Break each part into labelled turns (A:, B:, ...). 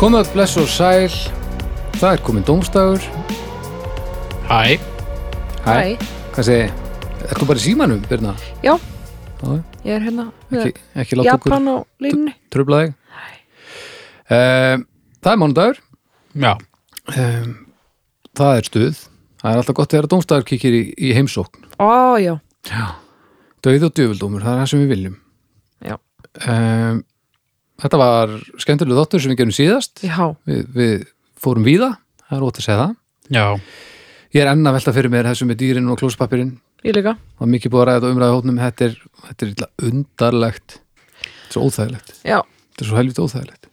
A: Komað bless og sæl Það er komin dómstagur
B: Hæ,
A: Hæ, hvað segi Ertu bara í símanum, Birna?
C: Já.
A: Já,
C: Ég er hérna með
A: Ekki, ekki láta okkur
C: Japan á línni
A: tröfla þig um, Það er mánudagur
B: já,
A: um, Það er stuð Það er alltaf gott þegar dómstagur kikir í, í heimsókn
C: Ó, já,
A: Dauð og djöfuldómur, það er það sem við viljum
C: Já.
A: um, Þetta var skemmtileg þáttur sem við gerum síðast
C: já,
A: Við, við fórum víða, það er ótt að segja það
B: já,
A: Ég er enn að velta fyrir mér þessu með dýrin og klóspapirinn
C: ég líka
A: og mikið búið að ræða þetta umræða hótnum þetta er, þetta er illa undarlegt þetta er svo óþægilegt
C: Já,
A: þetta er svo helviti óþægilegt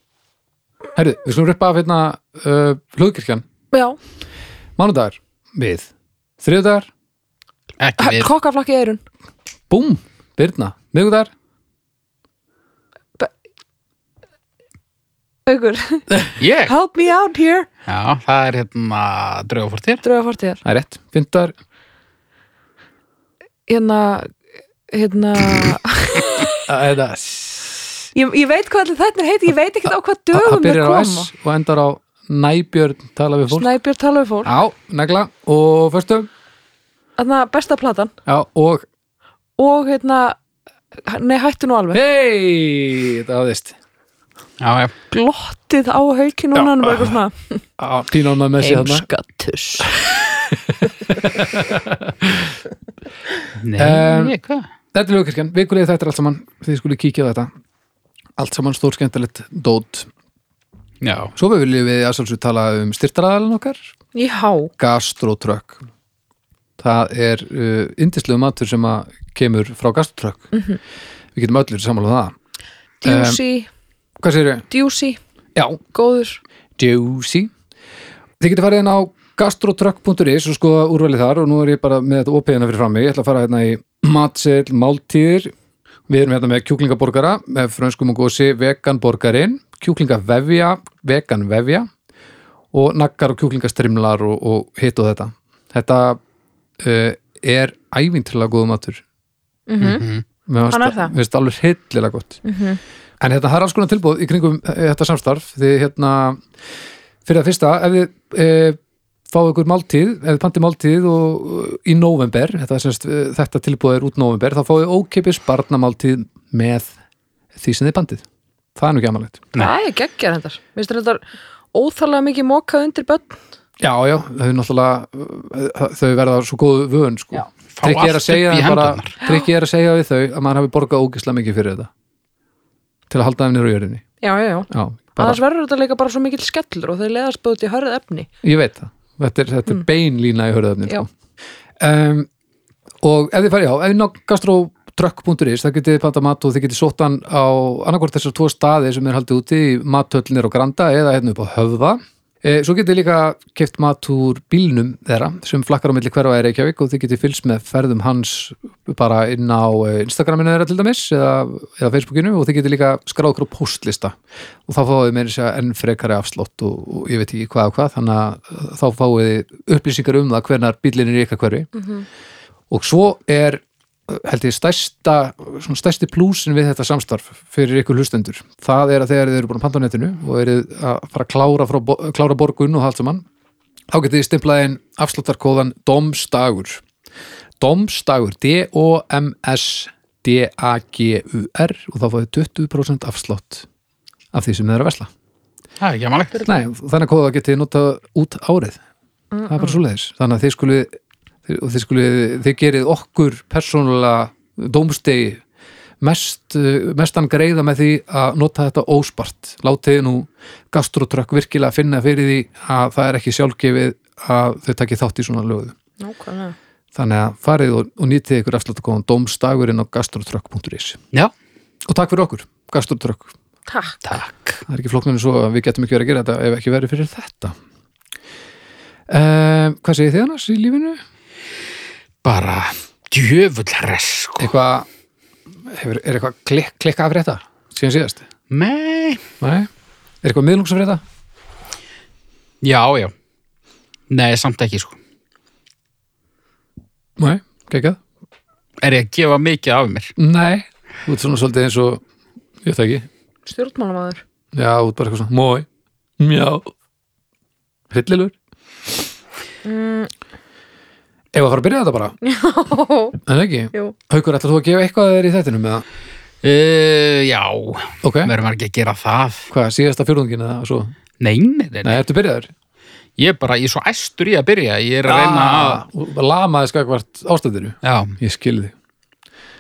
A: Herðu, við skulum rippa af hérna uh, hlugkirkjan,
C: já,
A: mánudagar við, þriðudagar,
B: ekki við
C: kokkaflakki eirun
A: búm Birna, miðgudagar,
C: Haukur,
B: Ég?
C: help me out here
B: Já, það er hérna draugafórtir
C: Drauga fortíðar
A: það er rétt, fyndagar
C: Hérna, hérna
A: eh, eða,
C: ég, ég veit hvað allir þetta heiti Ég veit ekkert á hvað
A: það
C: dögum
A: byrjar á S
C: koma
A: og endar á næbjörn tala við fólk,
C: Snæbjörn talaðu fólk
A: á, negla og föstum,
C: Þannig að besta platan
A: já, og
C: Og hérna, nei hættu nú alveg
A: hei, þetta hafðist
B: Já, já,
C: Glottið á hauki núna hann er bara eitthvað svona
A: á, pínóna með sér þarna
C: Heimskattus
B: nei,
A: Em,
B: ég, hvað?
A: Þetta er lögkirkjan, vikulegið þetta er allt saman þið skulle kíkja á þetta allt saman stór skemmtilegt dót
B: Já,
A: Svo viljum við aðsálsum tala um styrtaraðalinn okkar
C: Já,
A: gastrotrökk Það er uh, indislegu matur sem að kemur frá gastrotrökk Við getum öllir sammála um það
C: djúsi,
A: Hvað segir við?
C: djúsi,
A: Já,
C: góður
A: juicy Þið getur farið inn á gastrotrökk.is og skoða úrvalið þar og nú er ég bara með þetta opiðina fyrir frammi, ég ætla að fara hérna í matseil, máltíðir við erum hérna með kjúklingaborgara með frönskum og gósi, veganborgarin kjúklingavefja, veganvefja og nakkar og kjúklingastrimlar og, og hitt og þetta þetta uh, er ævintilega góðu matur
C: Mhm.
A: Mér
C: Hann
A: varst,
C: er það. Mhm.
A: mér varst alveg hillilega gott en hérna, það er alls konar tilbúð í kringum eh, þetta samstarf því hérna, fyrir það fyrsta ef þið e, fáið ykkur máltíð ef þið pantið máltíð og, eh, í november þetta, er semst, eh, þetta tilbúð er út november þá fáið þið ókipis barnamáltíð með því sem þið pantið það er nú ekki amalegt
B: Nei.
C: Það er geggjar hendar. Mér finnst þetta óþarlega mikið mokað undir börn.
A: já, já, þau náttúrulega eh, þau verða svo góðu vön sko.
C: Já.
B: fá
A: Tryggi er að
B: allt
A: segja
B: upp í
A: þeim bara,
B: hendunar
A: Tryggi er að segja við þau að maður hafi borgað ógislega mikið fyrir þetta til að halda þeim niður á jörðinni
C: Já, já, já.
A: Já, bara,
C: Annars verður þetta líka bara svo mikill skellur og þeir leðast búið til hörð efni.
A: ég veit það þetta er,
B: Mm.
A: þetta er beinlína í hörðafnir
C: Já.
A: um, og ef þið farið á ef þið ná gastrotrökk.is það getið þið panta mat og þið getið sóttan á annarkvort þessar tvo staði sem er haldið úti í mathöllinir á Granda eða hérna upp á Höfða Eh, Svo getið þið líka keft mat úr bílnum þeirra sem flakkar á milli hverfa er Reykjavík og þið getið fylgst með ferðum hans bara inn á eh, Instagraminu þeirra til dæmis eða, eða Facebookinu og þið getið líka skráð okkur á postlista og þá fáið þið meira sér enn frekari afslott og, og ég veit ekki hvað og hvað þannig að eh, þá fáið þið upplýsingar um það hvernar bílinn er í ykkar hverfi og svo er uh, held ég stærsta, svona stærsti plúsin við þetta samstarf fyrir ykkur hlustendur það er að þegar þið eru búin að panta á netinu og eru að fara að klára, frá, bo- klára borgun og allt saman, þá getið þið stimplað inn afsláttarkóðan DOMSTAGUR DOMSTAGUR D-O-M-S D-A-G-U-R og þá fáið þið 20% afslátt af því sem þið eru að vesla
B: Það er ekki amalegt
A: Nei, þannig að kóða getið notað út árið það er bara svoleiðis þannig að þið skulu og þið skulu, þið gerið okkur persónulega dómstegi mest, uh, mestan greiða með því að nota þetta óspart látið nú gastrotrökk virkilega finna fyrir því að það er ekki sjálfgefið að þau takið þátt í svona lögu
C: Nákvæmlega.
A: þannig að farið og, og nýtið ykkur afsláttakóðan dómstagurinn á gastrotrökk.is
B: Já,
A: og takk fyrir okkur, gastrotrökk
C: Takk.
B: takk
A: það er ekki flóknarinn svo að við getum ekki verið að gera þetta ef ekki verið fyrir þetta um, hvað segir þið annars í lífinu?
B: Bara djöfull res, sko
A: eitthvað hefur, er eitthvað klikk, klikka af frétta síðan síðast?
B: Nei,
A: Nei. er eitthvað miðlungs af frétta?
B: já, já Nei, samt ekki, sko
A: Nei, geggjað?
B: Er ég að gefa mikið af mér?
A: Nei, þú ert svona svolítið eins og ég veit það ekki,
C: Stjórnmálamæður.
A: já, þú ert bara eitthvað svona mói, Já Hryllilegur
C: Mm,
A: Ef að fara að byrja þetta bara,
C: ó,
A: en ekki
C: jú.
A: Haukur, ætlar þú að gefa eitthvað að þér í þettinum eða?
B: Uh, já,
A: Ok,
B: verður maður ekki að gera það.
A: hvað, síðasta fjórðungin eða svo?
B: Nei, nei, nei.
A: Nei, ertu byrjaður?
B: Ég er bara, ég er svo æstur í að byrja. Ég er að reyna að...
A: að Lamaði skakvart ástæðinu
B: Já,
A: Ég skilði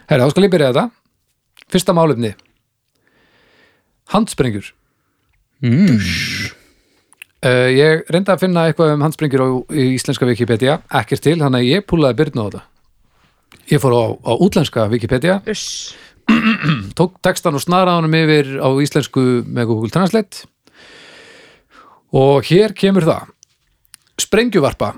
A: Herra, þá skal ég byrja þetta Fyrsta málefni Handsprengjur
B: mm.
A: uh, Ég reyndi að finna eitthvað um handsprengjur á, í íslenska Wikipedia Ekkert til, þannig að ég púlaði byrnu á þetta Ég fór á, á útlenska Wikipedia
C: Uss.
A: tók textan og snaraði honum yfir á íslensku með Google Translate og hér kemur það sprengjuvarpa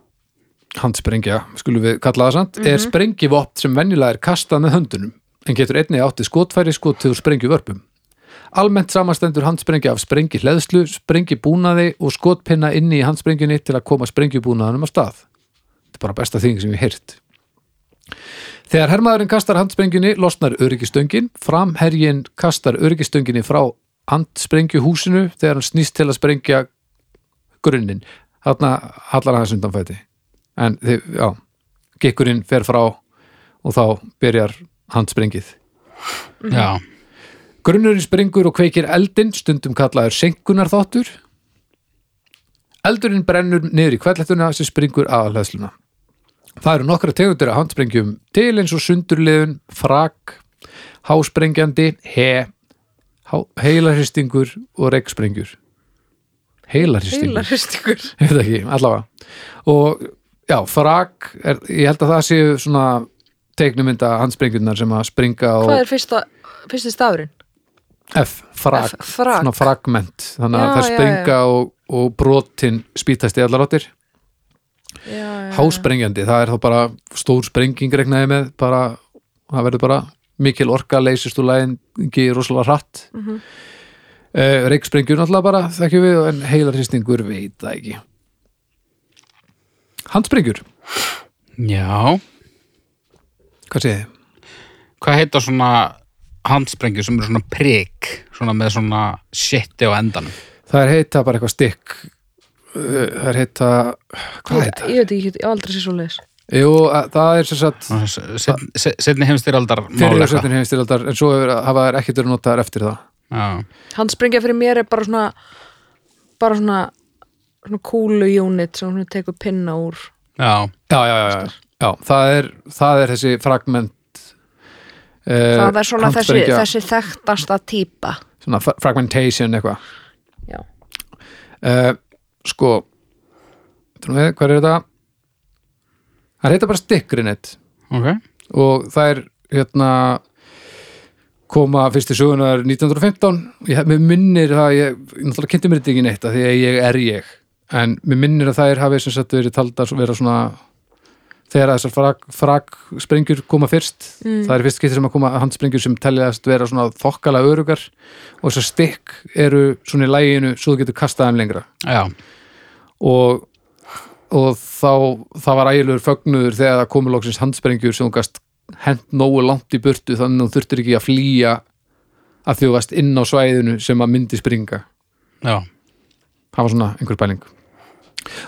A: handsprengja, skulum við kalla það samt er sprengjuvopt sem venjulega er kastað með höndunum en getur einnig átti skotfæri skotið úr sprengjuvörpum Almennt samastendur handsprengja af sprengi hleðslu, sprengjubúnaði og skotpinna inni í handsprengjunni til að koma sprengjubúnaðanum af stað. Þetta er bara besta þing sem ég heyrt. Þegar hermaðurinn kastar handsprengjunni losnar öryggistönginni, framherjinn kastar öryggistönginni frá handsprengjuhúsinu þegar hann snýst til að sprengja grunnin. Þarna hallar hann undan fæti. En þið, já, gikkurinn fer frá og þá byrjar handsprengið.
B: já.
A: Grunnurinn springur og kveikir eldinn, stundum kallaður senkunarþáttur. Eldurinn brennur niður í kvellettuna sem springur aðalhæðsluna. Það eru nokkra tegundir af handsprengjum til eins og sundurliðun, frak, hásprengjandi, he, há, heilarhistingur og reyksprengjur. Heilarhistingur
C: Heilarhistingur.
A: ég veit ekki, allavega og já, frak er, ég held að það séu svona teiknumynda handsprengjurnar sem að springa á
C: Hvað er fyrsta, fyrsti stafurinn?
A: F, frak,
C: F, frak.
A: svona fragment þannig að
C: Já,
A: það
C: já,
A: springa og, og brotin spýtast í allar áttir
C: Já, já, já.
A: hássprengjandi, það er þá bara stór sprenging regnaði með, bara það verður bara mikil orka leysist úr læðingi rosalega hratt mm
C: Mhm.
A: -hmm. reiksprengjur náttúrulega bara þekkjum við, en heilarhristingur veit það ekki handsprengjur,
B: Já.
A: hvað séð þið?
B: Hvað heita svona handsprengjur sem eru svona prik, svona með svona shiti á endanum?
A: Það er heita bara eitthvað stykk Uh, Það er heita Hvað
C: Ég,
A: heita?
C: ég veit ekki, ég hef aldrei sé svo leiðis.
A: Jú, að- það er sem sagt
B: Setni heimstyraldar
A: fyrir
B: málega.
A: ásveitin heimstyraldar en svo hefur- hafa þær ekkert verið notaðar eftir það
B: Já,
C: Hann springja fyrir mér er bara svona, bara svona, svona kúlu unit sem hún tekur pinna úr.
B: já,
A: Já, já, já, já, já það, er, það er þessi fragment uh,
C: það er svona þessi, þessi þekktasta típa.
A: svona fra- fragmentation eitthvað
C: Já.
A: uh, sko trúum við, hvað er þetta það er heita bara stikkrinett
B: ok.
A: og það er hérna koma fyrst í sögunar 1915 ég, mér minnir það, ég náttúrulega kynnti mér þetta ekki neitt af því að ég er ég en mér minnir að þær hafi sem sagt verið taldar svo- vera svona þegar þessar frak, frak sprengjur koma fyrst það er fyrst getur sem að koma handsprengjur sem teljast vera svona þokkala örugar og þessar stykk eru svona í læginu svo þú getur kastað þeim lengra
B: Já,
A: og, og þá það var ægilegur fögnuður þegar það komur loksins handsprengjur sem hún gast hent nógu langt í burtu þannig að hún þurftir ekki að flýja að því þú varst inn á svæðinu sem að myndi springa
B: já,
A: það var svona einhver pæling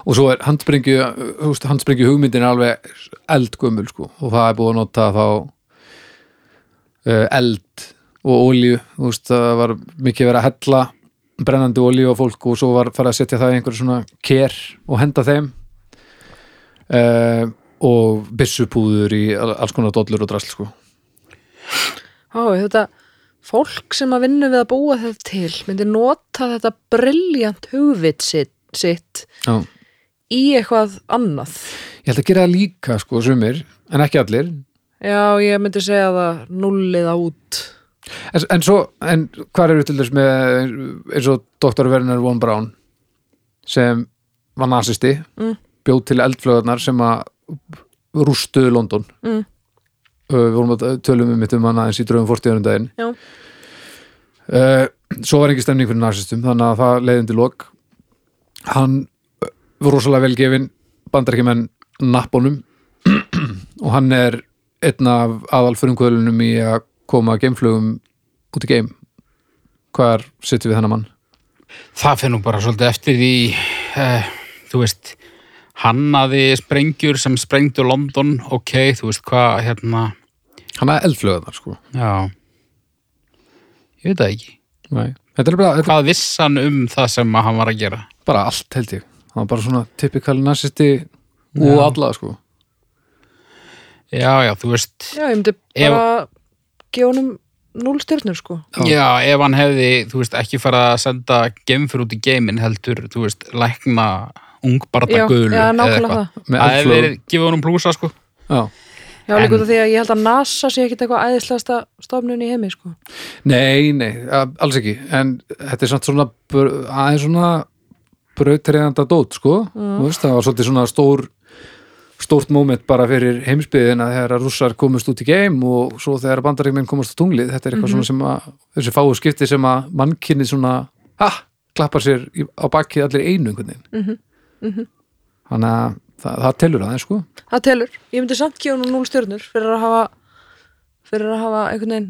A: og svo er handsprengju þú veist, handsprengju hugmyndin er alveg eldgömmul sko og það er búið að nota þá uh, eld og olíu þú veist það var mikið verið að hella brennandi olíu á fólk og svo var farið að setja það í einhverju svona ker og henda þeim uh, og byssupúður í al- alls konar dollur og drasl sko
C: Ó, þetta fólk sem að vinna við að búa þetta til myndi nota þetta briljant hugvit sitt, sitt
A: Já.
C: í eitthvað annað.
A: ég held að gera það líka sko sumir en ekki allir
C: Já, ég myndi segja það nullið út.
A: En, en svo, en hvað eru til þess með eins og Dr. Werner von Braun sem var nazisti,
C: Mm.
A: bjóð til eldflöðarnar sem að rústuðu London
C: Mm.
A: Ö, Við vorum að tölum um mitt um hann aðeins í draugum fórstíðunum daginn
C: Já.
A: uh, Svo var ekki stemning fyrir nazistum þannig að það leiðindi lok Hann ö, var rosalega velgefin bandarækjumenn nappunum og hann er einn af aðalförumkvöðlunum í að koma geimflugum út í geim hvar sittum við þennan mann
B: það finnum bara svolítið eftir því uh, þú veist hannaði sprengjur sem sprengdu London, ok, þú veist hvað hérna,
A: hann er eldflöðunar sko
B: já ég veit það ekki
A: Nei. þetta er bara, þetta
B: hvað vissi hann um það sem að hann var að gera
A: er bara allt held ég hann var bara svona typikal nazisti og alla sko
B: já, já, þú veist
C: Já, ég myndi
B: Ef-
C: bara gefa honum núl stjörnur sko
B: Já, ef hann hefði, þú veist, ekki farið að senda gemfur út í geiminn heldur, þú veist, lækna ungbarna
C: Já,
B: guðlu
C: já, nákvæmlega
A: Með
B: Það hefði
A: eldflögum.
B: verið, gefa honum plúsa, sko.
A: já.
C: Já, líka
B: En-
C: út af því að ég held að NASA sé ekkit eitthvað æðislegasta stofnun í heimi sko
A: nei, nei, a- alls ekki en þetta er samt svona br- aðeins svona brautriðanda dót sko Þú veist, það var svolítið svona stór stórt moment bara fyrir heimsbyðina þegar að rússar komust út í geim og svo þegar bandaríkminn komast á tunglið þetta er eitthvað svona sem að þessi fáu skipti sem að mannkinni svona ha, klappar sér í- á bakið allir í einu einhvern veginn mm þannig að það, það telur aðeins sko
C: Það telur, ég myndi samt gefa honum núl stjörnur fyrir að hafa fyrir að hafa einhvern veginn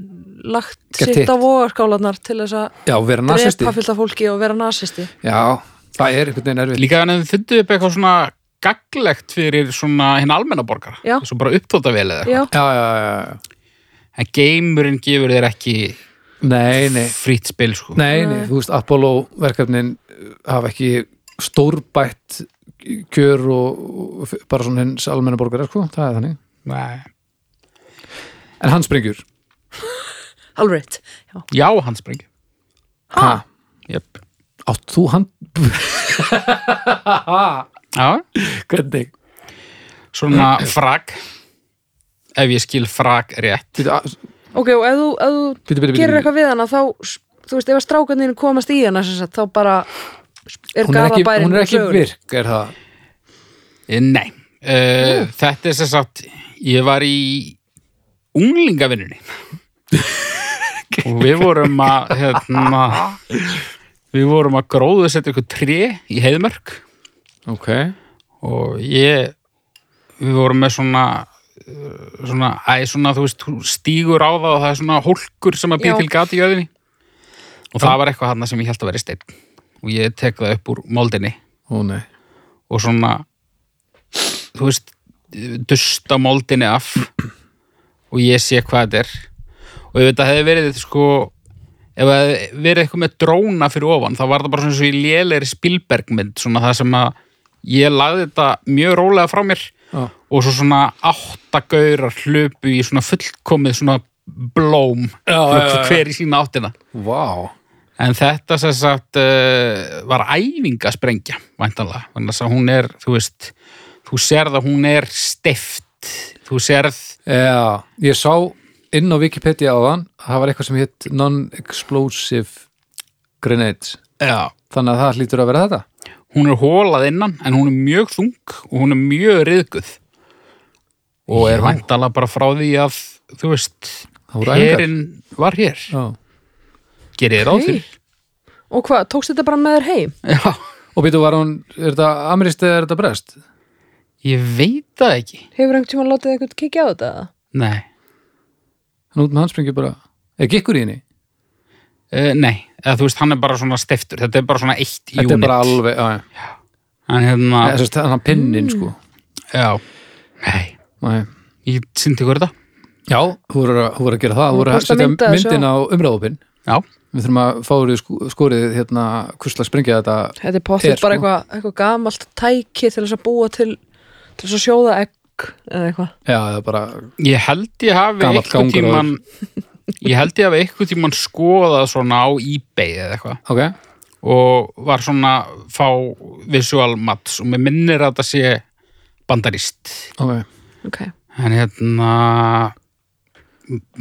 C: lagt
A: Gert
C: sitt
A: hitt.
C: á vogarskálanar til þess að
A: já, vera nasisti
C: drepa fylgta fólki og vera nasisti
A: já, það er einhvern veginn erfið
B: Líka hann hefði fundið upp eitthvað svona gaglegt fyrir svona hinn almenna borgara.
C: Já.
B: Svo bara upptóttavel eða eitthvað.
C: Já,
A: já, já, já, já.
B: En geimurinn gefur þér ekki
A: nei, nei
B: frýtt spil, sko.
A: Nei, nei, þú veist, Apollo verkefnin uh, hafa ekki stórbætt kjör og og f- bara svona hins almenna borgar sko, það er þannig.
B: Nei.
A: En hann springur.
C: alveg rétt. Já.
B: Já, hann sprengi.
A: Ha,
B: Jöp.
A: átt þú hann?
B: Já,
A: Hvernig?
B: svona frak. Ef ég skil frak rétt.
A: Býtu, a-
C: Ok, og ef þú, ef þú
A: býtu, býtu,
C: gerir
A: býtu.
C: eitthvað við hana þá, þú veist, ef að strákaninn komast í hana sem sagt, þá bara er
A: Hún er ekki,
C: garðabærin
A: hún er ekki
C: sögur.
A: virk, er það?
B: Eh, Nei, uh, þetta er sem sagt ég var í unglingavinnunni og við vorum að hérna, við vorum að gróðu setja ykkur tré í heiðmörk
A: Ok.
B: og ég við vorum með svona eh, svona, æ, svona, þú veist, þú stígur á það og það er svona hólkur sem að
C: Já.
B: býr til gati í öðinni og það var eitthvað hann sem ég held að vera steinn og ég tek það upp úr moldinni
A: Ó, nei.
B: og svona þú veist, dusta moldinni af og ég sé hvað þetta er og ég veit að hefði verið sko ef það hefði verið eitthvað með dróna fyrir ofan þá var það bara svona svo í lélegri spilbergmynd svona það sem að ég lagði þetta mjög rólega frá mér
A: Já.
B: og svo svona áttagaurar hlupu í svona fullkomið svona blóm
A: Já, já, já.
B: hver í sína áttina
A: Vá.
B: En þetta sem sagt uh, var æfinga sprengja, væntanlega. Þannig að hún er, þú veist, þú sérð að hún er steft. Þú sérð,
A: Já, ég sá inn á Wikipedia á þann, það var eitthvað sem hitt Non-Explosive Grenades.
B: já,
A: Þannig að það hlýtur að vera þetta.
B: hún er hólað innan en hún er mjög þung og hún er mjög riðguð. Og er væntanlega bara frá því að, þú veist,
A: Það voru æfingar.
B: hérinn var hér.
A: Já.
B: Gerir þér á því.
C: Og hvað, tókst þetta bara með þér heim?
B: Já,
A: Og býtu, var hún, er þetta amirist eða er þetta brest?
B: ég veit það ekki.
C: Hefur einhvern tímann látið eitthvað kikið á þetta? eða?
B: Nei,
A: Hann út með handspringi bara, eða gikkur í henni?
B: uh, nei. Eða, þú veist, hann er bara svona steftur. Þetta er bara svona eitt
A: Þetta er
B: unit.
A: bara alveg, já, já.
B: Hann hérna,
A: Eða, sérst, hann
C: Mm.
A: pinnin, sko.
B: já, nei.
A: Nei.
B: Ég syndi ykkur þetta.
A: Já, þú voru, að- þú voru að gera það, þú voru að
C: Posta
A: setja
C: mynd að þessu,
A: myndin á umræðopinn.
B: Já.
A: Við þurfum að fá úr í skú- skorið hérna hvurslag springið þetta.
C: Þetta er
A: Er,
C: potið bara
A: sko.
C: eitthvað, eitthvað gamalt tæki til þess að búa til, til þess að sjóða egg eða eitthvað.
A: Já, það er bara,
B: Ég held ég hafi
A: Gamall gangur
B: eitthvað tíman ég held ég hafi eitthvað tíman skoðað svona á ebay eða eitthvað
A: ok,
B: og var svona fá visual mats og mér minnir að þetta sé bandarist
A: ok.
C: Ok,
B: en hérna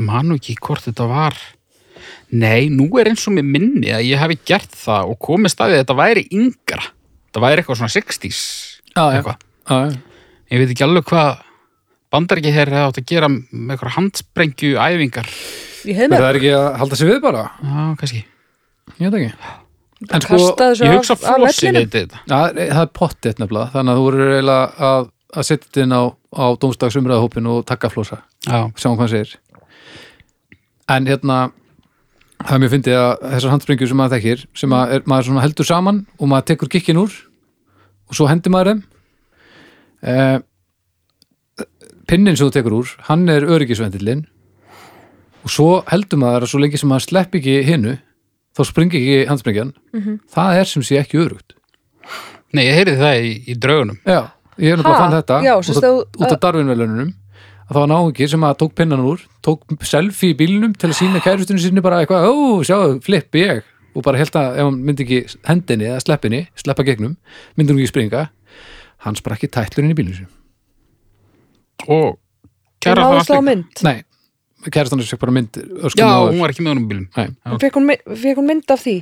B: manu ekki hvort þetta var nei, nú er eins og mér minni að ég hafi gert það og komið staðið að þetta væri yngra þetta væri eitthvað svona 60s
A: Já, já.
B: eitthvað
A: Já, já.
B: ég veit ekki alveg hvað bandaríki hér hefði átt að gera með eitthvað handsprengju æfingar
C: ég hef
A: Er
C: með
A: það ekki að halda sig við bara?
B: já, kannski
A: Ég veit ekki. En sko,
C: kasta þessu
B: ég hugsa
C: af, af
B: flósi
C: vellinum.
B: við þetta
A: já, það er pottitt nefnilega, þannig að þú voru eiginlega að, að setja þetta inn á, á dómstagsumræðahópin og taka flósa.
B: já,
A: sjáum hvað hann segir en hérna það er mér fyndið að þessar handsprengjur sem maður þekkir sem að er, maður svona heldur saman og maður tekur kikkin úr og svo hendir maður þeim eh, pinnin sem þú tekur úr hann er öryggisvendillin og svo heldur maður að svo lengi sem maður slepp ekki hinnu þá springi ekki handsprengjan það er sem sé ekki örugt
B: Nei, ég heyrði það í, í draugunum
A: Já, ég er náttúrulega
C: Ha?
A: fann þetta
C: Já, sem
A: út, að,
C: stóð-
A: út af darfinvelunum að það var náungi sem að tók pinnan úr tók selfie í bílnum til að sína kærustinu sinni bara eitthvað, ó, sjáðu, flippi ég og bara held að ef hann myndi ekki hendinni eða sleppinni, sleppa gegnum myndi hún ekki springa, hann sprakk í tætlurinn í bílnum sinum.
B: og
C: Hún
B: kæra það
C: náðist á
B: allir
C: mynd
A: Nei, kærustan er sér bara mynd öskum
B: Já,
A: áður.
B: hún var ekki með honum í bílum
A: Nei,
B: Já.
C: Fekk hún, mi- fékk hún mynd af því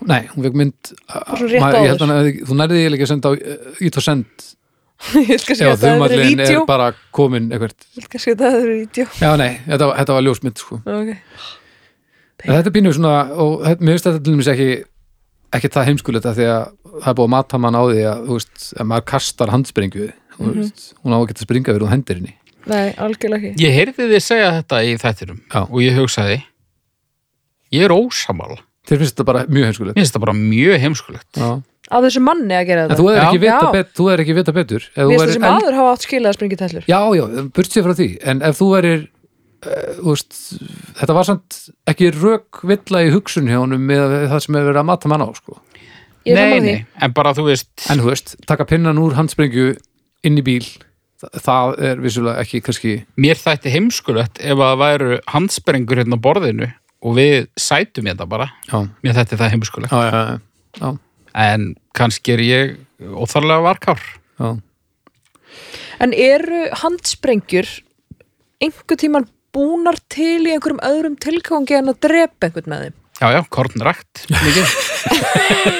A: nei, hún fekk mynd
C: Bara svona rétt
A: ég held
C: áður.
A: að hann hefði- þú nærði ég ekki að senda á ít og send
C: Ég vil kannski
A: ef
C: að það hefur
A: þumallin er
C: vídeo
A: bara komin eitthvað.
C: Ég vil kannski að það hefur vídeo
A: Já, nei, þetta, var- þetta var ljósmynd sko.
C: Ok
A: En þetta er pínu svona, og þetta- mér finnst þetta til dæmis ekki, ekki það heimskulegt að því að það er búið að mata mann á því að, þú veist, að maður kastar handsprengu, mm
C: Mhm.
A: veist, hún á að geta springa fyrir hún hendir henni.
C: Nei, algjörlega ekki
B: Ég heyrði þið segja þetta í þættinum
A: Já.
B: og ég hugsaði ég er ósamal mér
A: Þér finnst þetta bara mjög heimskulegt.
B: finnst það bara mjög heimskulegt
A: Já.
C: Af þessu manni að gera
A: En
C: þetta
A: þú er
B: Já.
A: ekki vita,
C: Já.
A: bet, þú er ekki vita betur. Ef þú
C: Mér finnst
A: værir
C: þessi
A: eld-
C: maður hafa átt skilað að springi tællur
A: Já, já, burt sér frá því, en ef þú verir, uh, veist, þetta var samt ekki rökvilla í hugsun hjá honum með það sem er verið að mata mann á, sko.
C: Ég er
B: Nei,
C: saman því
B: nei, en bara þú veist
A: En þú veist, taka pinnan úr handsprengju inn í bíl, það, það er vissulega ekki kannski
B: mér þætti heimskulegt ef að það væru handsprengur hérna á borðinu og við sætum þetta bara
A: Já,
B: mér þætti það heimskulegt
A: já, já, já. já.
B: en kannski er ég óþarlega varkár
A: Já.
C: En eru handsprengjur einhver tíman búnar til í einhverjum öðrum tilgangi en að drepa einhvern með þeim?
B: já já, kornrækt mikið.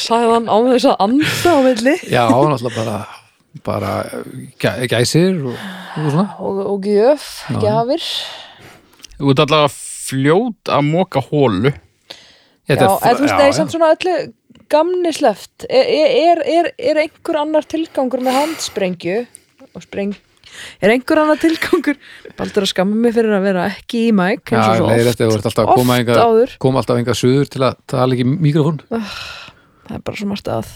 C: Sagði hann á þess að anda á milli
A: Já, náttúrulega bara, bara gæ, gæsir og, og svona.
C: og, og gjöf, gjafir
B: þú ert allavega fljót að móka hólu
C: Já, en þú veist, það er
A: já,
C: samt svona öllu gamni sleft er, er, er, er einhver annar tilgangur með handsprengju og spreng er einhver annar tilgangur Baldur að skamma mig fyrir að vera ekki í mæk
A: já,
C: eins og
A: leiðir
C: svo
A: eftir að þú ert alltaf að
C: oft
A: koma enga,
C: áður.
A: koma alltaf enga suður til að tala ekki í mikrofón.
C: oft það er bara svo margt að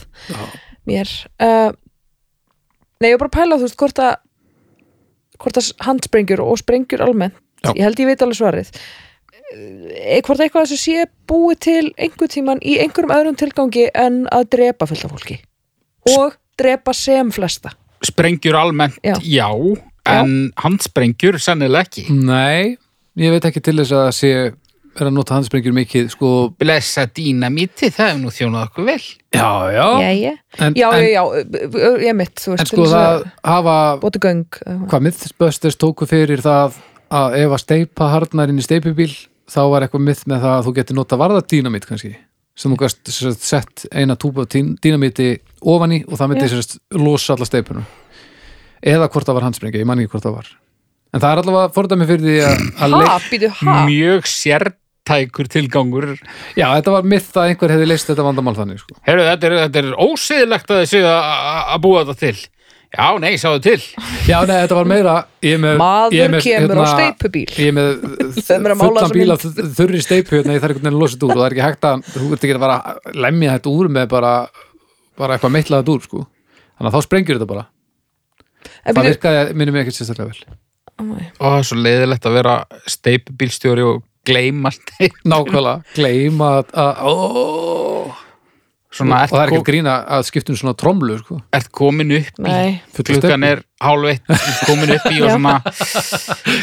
C: mér uh, Nei, ég var bara að pæla þú veist hvort að hvort að handsprengjur og sprengjur almennt
A: Já.
C: ég held ég veit alveg svarið Eh, hvort eitthvað þessu sé búið til einhver tíman í einhverjum öðrum tilgangi en að drepa fullt af fólki og drepa sem flesta
B: sprengjur almennt,
C: Já.
B: já, en handsprengjur sennilega ekki
A: Nei, ég veit ekki til þess að sé vera að nota handsprengjur mikið, sko,
B: blessa dýnamíti, það er nú þjónað okkur vel
A: já, já.
C: Jæja.
A: En,
C: Já, já,
A: en,
C: já, já, ég mitt þú veist,
A: en sko það hafa,
C: bóti göng eða
A: hvað mythbusters tóku fyrir það að ef að steipa harnar inn í steipubíl, þá var eitthvað myth með það að þú getur nota varða dýnamít kannski sem þú gast sem sagt, sett eina túpa af tín- dýnamíti ofan í og það myndi
C: Já.
A: sérst, losa alla steipuna eða hvort það var handsprengja, ég man ekki hvort það var en það er allavega fordæmi fyrir því að, að
C: eitthvað. Ha,
A: leik-
C: býtu, ha
B: mjög sértækur tilgangur
A: já, þetta var myth að einhver hefði leist þetta vandamál þannig sko.
B: Heru, þetta, er, þetta er ósiðlegt að þessu að- að að búa þetta til já, nei, sáðu til
A: já, nei, þetta var meira ég er með,
C: Maður
A: ég er með, hérna,
C: kemur á steipubíl.
A: ég er með
C: Þau eru að mála
A: fullan
C: þessa
A: bíl
C: mynd.
A: af þ- þurri steipu hérna, ég þarf einhvern veginn að losa þetta úr og það er ekki hægt að, þú ert ekki að bara lemja þetta úr með bara, bara eitthvað meitla þetta úr sko. þannig að þá sprengjur þetta bara
C: en
A: það
C: býtu,
A: virkaði, minnum ég ekki sérstaklega vel
B: og það er svo leiðilegt að vera steipbílstjóri og gleyma steip
A: nákvæmlega, gleym að, að ó, og
B: svona,
A: það er
B: ert,
A: ekki
B: kom,
A: að grína að skiptum svona tromlu sko.
B: ert komin upp í
C: nei,
A: Fulla
B: klukkan
A: steypu.
B: er hálf eitt komin upp í og
C: Já.
B: svona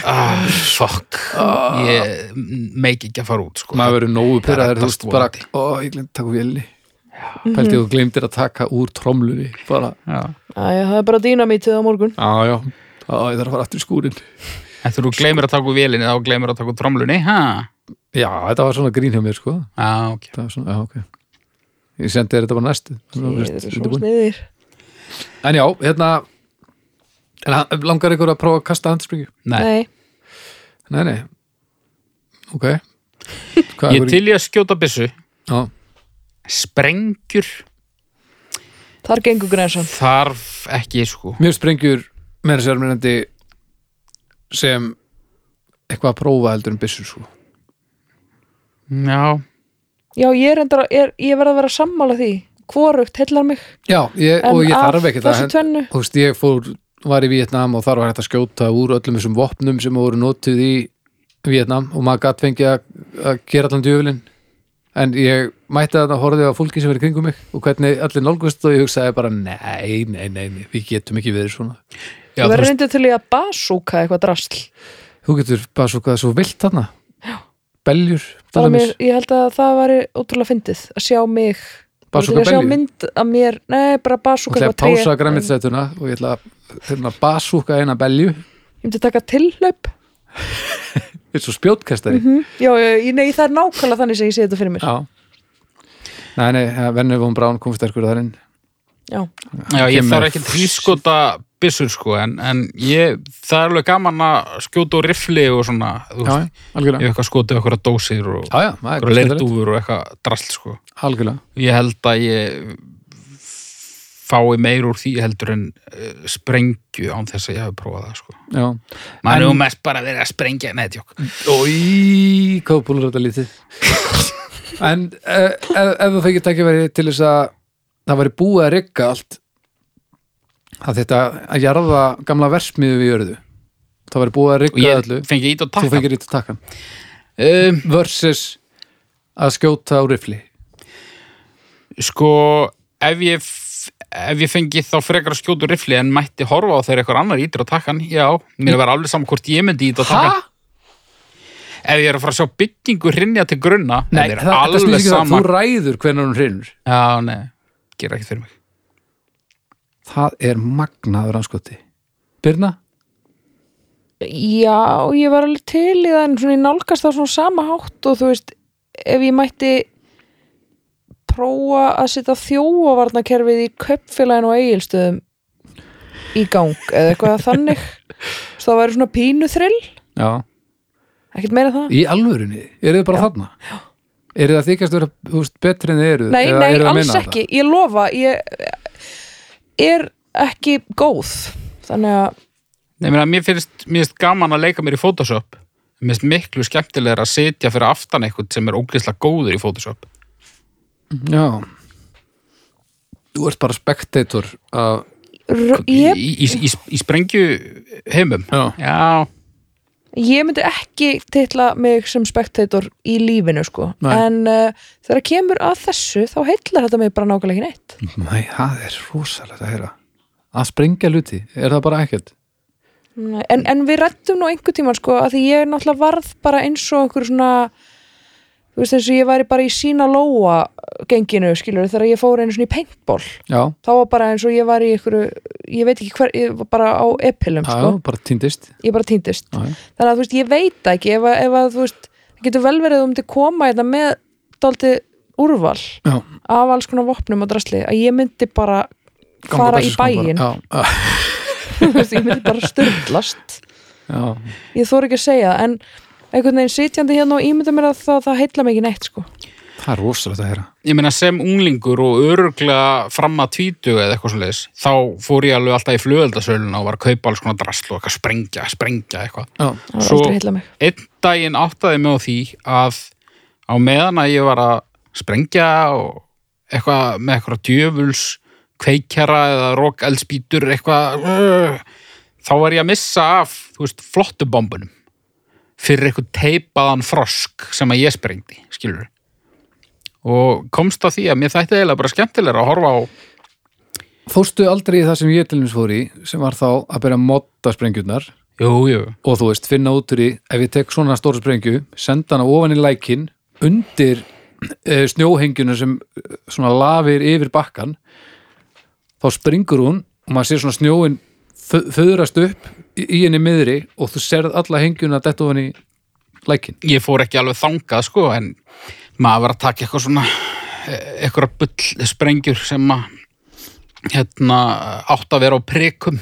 B: ah, fuck ég meik ekki að fara út sko.
A: Ah. maður verður nógu
B: Það er
A: pyrraður, þú
B: reddast
A: veist bara
B: vonandi.
A: ó, ég glemt að taka vélni
C: Mhm.
A: pælti þú glemtir að taka úr tromlunni bara,
B: Já.
C: Æja, það er bara dýnamítið á morgun
A: á, já, á, ég þarf að fara aftur í skúrin
B: en þú gleymir að taka úr vélinni þá gleymir að taka úr tromlunni ha?
A: já, þetta var svona grín hjá mér sko
B: Ah, okay.
A: það var svona, já, ok ég sendi þér þetta bara næstu Þannig að
C: Ég
A: þú
C: er
A: veist,
C: svo
A: undirbúin.
C: sniðir
A: en já, hérna en hann- langar ykkur að prófa að kasta handspringi
B: Nei.
C: Nei,
A: nei, nei, ok hvað
B: ég
A: ykkur-
B: til ég að skjóta byssu
A: já,
B: sprengjur
C: þar gengur grensan
B: þarf ekki sko
A: mjög sprengjur meira sér meirandi sem eitthvað að prófa heldur en byssur sko
B: já,
C: Já, ég er endar, er, ég verð að vera sammála því Hvorugt heillar mig
A: Já, ég,
C: En
A: og ég
C: af
A: þarf ekki það
C: þessu
A: en-
C: tvennu?
A: Þú veist, ég fór, var í Vietnam og þar var hægt að skjóta úr öllum þessum vopnum sem voru notuð í Vietnam og maður gatt fengið að, að gera allan djöfulinn en ég mætti að það horfði á fólki sem verið kringum mig og hvernig allir nálgust og ég hugsaði bara nei, nei, nei, nei við getum ekki verið svona
B: já
C: Þú
B: þú
C: verður
B: veist,
C: reyndu til í að basúka eitthvað drasl
A: þú getur bara svo hvað svo vilt þarna beljur,
C: Það var
A: dæmis,
C: mér, Ég held að það væri ótrúlega fyndið Að sjá mig
A: Basúka
C: Til að
A: belju?
C: Sjá mynd að mér, nei, bara
A: og
C: basúka
A: ætla að
C: eitthvað tré.
A: pása græmitstætuna og ég ætla að hérna, basúka eina belju
C: Ég myndi taka tilhlaup
A: eins og spjótkastari
C: Já, ég, nei, það er nákvæmlega þannig sem ég sé þetta fyrir mér
A: Já Nei, nei, vennið von Brán kom sterkur þar inn
C: Já,
B: já, ég
A: kemur-
B: þarf ekki trískota byssur sko, en, en ég, það er alveg gaman að skjóta úr rifli og svona, þú
A: já,
B: veist, ég
A: algjörlega
B: hef eitthvað skotið okkur að dósir og
A: Já, já, það er
B: okkur að
A: skemmtilegt.
B: leirdúfur og eitthvað drasl sko.
A: Algjörlega,
B: Ég held að ég fái meir úr því heldur en uh, sprengju án þess að ég hafi prófað það sko.
A: já
B: Man
A: En- Mm.
B: er nú mest bara verið að sprengja neðtjók.
A: Í, hvað búlur þetta lítið En eh, ef, ef þú fengið tækifæri til þess að það væri búið að rigga allt að þetta að jarða gamla versmiðu við jörðu það væri búið að
B: Og
A: rigga
B: ég
A: öllu
B: fengi ít og
A: þú
B: takka.
A: fengir ít að takkan
B: Um,
A: versus að skjóta á rifli
B: sko ef ég, f- ef ég fengi þá frekar að skjóta úr rifli en mætti horfa á þegar eitthvað annar ítir á takkan já, mér var alveg saman hvort ég myndi ítir á takkan ef ég er að fara að sjá byggingu hrinja til grunna
A: Nei, það,
B: mér er
A: það
B: alveg
A: snýst ekki um það, þú
B: saman
A: ræður hvernig hún hrinur
B: já, nei, gera ekki fyrir mig
A: Það er magnaður anskoti Birna?
C: Já, ég var alveg til í það en svona ég nálgast það svona sama hátt og þú veist, ef ég mætti prófa að setja þjófavarnakerfið í kaupfélaginu og eigilstöðum í gang eða eitthvað þannig svo það væri svona pínu þrill
A: Já
C: ekkert meira það
A: Í alvörunni, eru þið bara þarna? Já Eru það þykast vera húst, betri en þið eru?
C: Nei, nei, alls ekki, ég lofa ég er ekki góð þannig að,
B: Nei, ég meina, mér finnst, mér finnst gaman að leika mér í Photoshop mér finnst miklu skemmtilegur að sitja fyrir aftan eitthvað sem er ógeðslega góður í Photoshop
A: Já Þú ert bara spektator af...
C: r-
B: í,
C: ég,
B: í, í, í sprengju heimum
A: Já.
B: já,
C: ég myndi ekki titla mig sem spektator í lífinu sko
A: Nei.
C: en uh, þegar kemur að þessu þá heillar þetta mig bara nákvæmlega ekki
A: Nei, það er rosalegt að heyra Að sprengja luti, er það bara ekkert? Mm.
C: neitt en, en við rettum nú einhver tíma sko að því ég náttúrulega varð bara eins og einhver svona þú veist eins og ég væri bara í sína lóa genginu skilur þegar ég fór einu svona í paintball
A: Já,
C: þá var bara eins og ég var í einhverju ég veit ekki hver, ég var bara á epilum
A: já,
C: sko,
A: bara týndist
C: ég bara týndist
A: Já, já.
C: þannig að þú veist, ég veit það ekki ef að, ef að þú veist, það getur vel verið að þú myndir koma hérna með dálítið úrval
A: Já.
C: af alls konar vopnum og drasli að ég myndi bara fara í bæin
A: Já, já,
C: Þú veist, ég myndi bara styrlast
A: já.
C: ég þór ekki að segja það en einhvern veginn sitjandi hérna og ímynda mér að það, það heilla mig ekki neitt sko
A: Það er rosalegt að heyra
B: ég meina sem unglingur og öruglega fram að tvítu eða eitthvað svona leis þá fór ég alveg alltaf í flugöldasöluna og var að kaupa alls konar drasl og eitthvað sprengja, sprengja eitthvað
A: Já,
C: það var
B: Svo-
C: aldrei heilla mig
B: einn daginn áttaði mig á því að á meðan að ég var að sprengja og eitthvað með eitthvað djöfuls kveikjara eða rók eldspýtur eitthvað þá var ég að missa af þú veist, flottubombunum fyrir eitthvað teipaðan frosk sem að ég sprengdi, skilur og komst að því að mér þætti eiginlega bara skemmtilega að horfa á
A: Fórstu aldrei í það sem ég til hans fór í sem var þá að byrja að modda sprengjurnar
B: jú, jú,
A: og þú veist, finna út úr í ef ég tek svona stóra sprengju, senda hana ofan í lækin undir e, snjóhengjuna sem eh, svona lafir yfir bakkan þá springur hún og maður sér svona snjóin föðrast upp í, í henni miðri og þú serð alla hengjuna detta ofan í lækin
B: ég fór ekki alveg þangað sko en maður var að taka eitthvað svona eh, eitthvað bull sprengjur sem að hérna átt að vera á prikum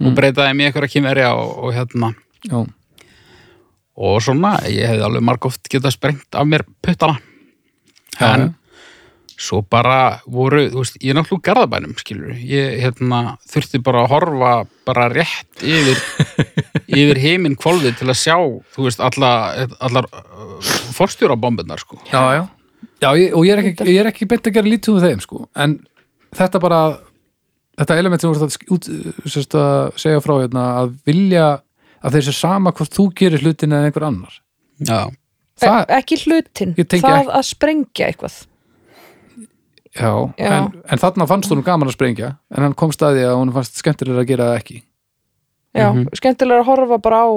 A: Mm.
B: og breytaði mig í eitthvað kynverja og, og hérna
A: Já,
B: og svona, ég hefði alveg margóft getað sprengt af mér puttana
A: Já,
B: en svo bara voru, þú veist, ég er náttúrulega úr garðabænum, skilur, ég hérna þurfti bara að horfa bara rétt yfir, yfir heiminn kvolfið til að sjá, þú veist, alla, allar uh, forstjórabombunar, sko.
A: já, já. ég, og ég er, ekki, ég er ekki beint að gera lítið um þeim sko. en þetta bara þetta element sem voru að, út, sérst, að segja frá hérna, að vilja að þeir sér sama hvort þú gerir hlutin eða einhver annar
B: Já,
A: það,
C: E, ekki hlutin,
A: Ég tengi
C: það
A: ekki-
C: að sprengja eitthvað
A: já,
C: Já.
A: En, en þarna fannst hún gaman að sprengja en hann komst að því að hún fannst skemmtilega að gera það ekki
C: já,
A: Mhm.
C: skemmtilega að horfa bara á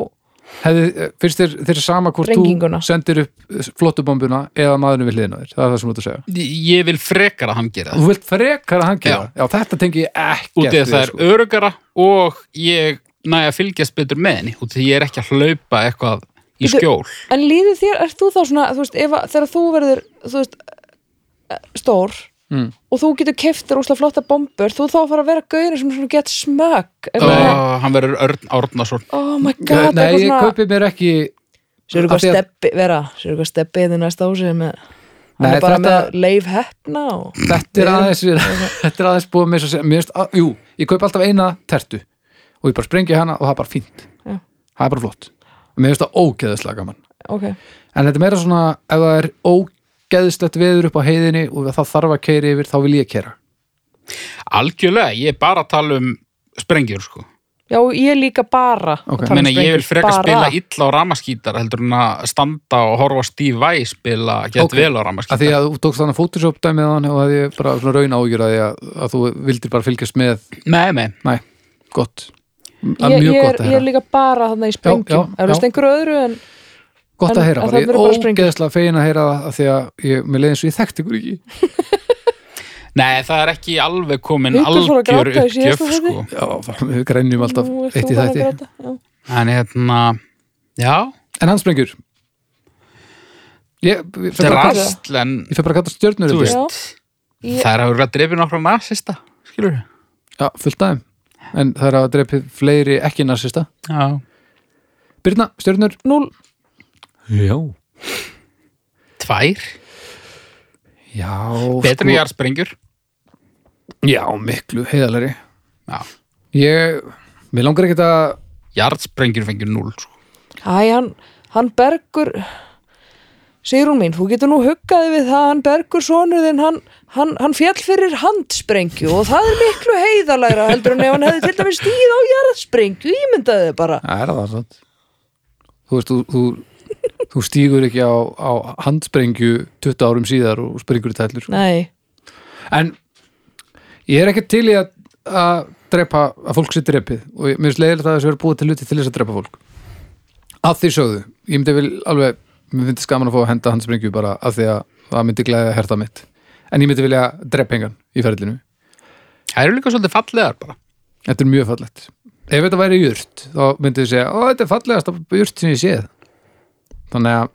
A: Hefði, eh, finnst þér, þér er sama hvort
C: Sprenginguna.
A: þú sendir upp eh, flottubombuna eða maðurinn við hliðina á þér, það er það sem þú ert að segja
B: ég ég vil frekar að hann gera það.
A: þú vilt frekar að hann gera, já, þetta tengi ég
B: Út
A: ekkert
B: af því að það er
A: sko.
B: örugara og ég næ að fylgjast betur með henni, út af því ég er ekki að hlaupa eitthvað í
C: Bíddu,
B: skjól.
C: en líður þér, ert þú þá svona þú veist, ef, að- þegar þú verður þú veist, eh, stór
A: Mm.
C: og þú getur keftir úsla flotta bombur þú þá að fara að vera gauðin sem svona get smög
B: Ó, hann verður Örn Árnason.
C: oh my god
A: Nei,
C: eitthvað
A: ég kaupi mér ekki Af
C: Sér eitthvað
A: því að-
C: steppi, vera, sér eitthvað steppi þið næsta ásið með, hann
A: Nei,
C: er bara
A: þetta-
C: með leif hefna og
A: þetta er aðeins þetta er aðeins búið með þess að mér finnst að- jú, ég kaup alltaf eina tertu og ég bara sprengi hana og það er bara fínt
C: Já.
A: það er bara flott og mér finnst það ógeðislega gaman
C: ok,
A: en þetta er meira svona ef það er ógeðislegt veður upp á heiðinni og það þarf að keiri yfir þá vil ég keira
B: Algjörlega, ég er bara að tala um sprengjur, sko.
C: já ég líka bara
A: Ok.
C: að tala um
B: Meina, ég
C: sprengjur,
B: vil frekar
C: bara.
B: spila illa á ramaskítar heldur en að standa og horfa á Steve Vai spila gett
A: Ok.
B: vel
A: að
B: á
A: því
B: ramaskítar
A: að þú tókst þannig Photoshop dæmið hann og að ég bara svona raun ágjur að, að, að þú vildir bara fylgjast með
B: Nei, nei,
A: nei, gott
C: ég,
A: það er mjög
C: ég,
A: gott að
C: er, ég er
A: heyra
C: líka bara þannig í sprengjum
A: já,
C: er
A: já.
C: það einhverju öðru en
A: gott að
C: en-
A: heyra
C: að
A: bara,
C: það
A: ég er
C: verður bara sprengi.
A: ógeðislega fegin að heyra það að því að ég, mér leiði eins og ég þekkt ykkur ekki
B: nei, það er ekki alveg komin
C: Haukur fór að
B: algjör
C: gráta í síðasta
B: uppgjöf
C: þætti.
B: sko.
A: Já, við grænjum alltaf
C: nú ert
A: eitt
C: þú
A: í
C: bara að
A: þætti
C: gráta já.
B: en hérna, já
A: En hann sprengur Ég, ég fer
B: þetta er
A: bara að kalla-
B: rast, en
A: ég fer bara að kalla stjörnur
B: þú
A: upp í.
C: Já.
B: veist
C: Ég-
B: það er að vera að drefi nokkra nasista skilur við
A: Já, fullt aðeim En það er að drepa fleiri ekki narsista
B: Já.
A: Birna, stjörnur
C: núl,
A: Já
B: tvær,
A: Já, sko.
B: betur en ég er sprengjur
A: Já, miklu heiðalari
B: Já.
A: Ég, mér langar ekkert að
B: jarðsprengjur fengur 0 sko.
C: hæ, hann, hann bergur Sigrún mín, þú getur nú huggaði við það að hann bergur sonur þinn, hann, hann, hann fjall fyrir handsprengju og það er miklu heiðalægra heldur en ef hann hefði til dæmis stíð á jarðsprengju, ímyndaði þið bara
A: Það er það sant Þú veist, þú, þú, þú stígur ekki á, á handsprengju 20 árum síðar og springur í tællur
C: Nei,
A: En ég er ekki til í að, að drepa, að fólk sé drepið og ég, mér finnst leiðilegt að þessu verið búið til hluti til þess að drepa fólk að því sögðu, ég myndi vel alveg mér finnst skaman að fá að henda hans sprengju bara að því að það myndi glæði að herta mitt en ég myndi vilja drepa engan í ferðlinu
B: það eru líka svolítið fallegar bara
A: þetta er mjög fallegt ef þetta væri jurt, þá myndi ég segja ó, þetta er fallegast af jurt sem ég séð þannig að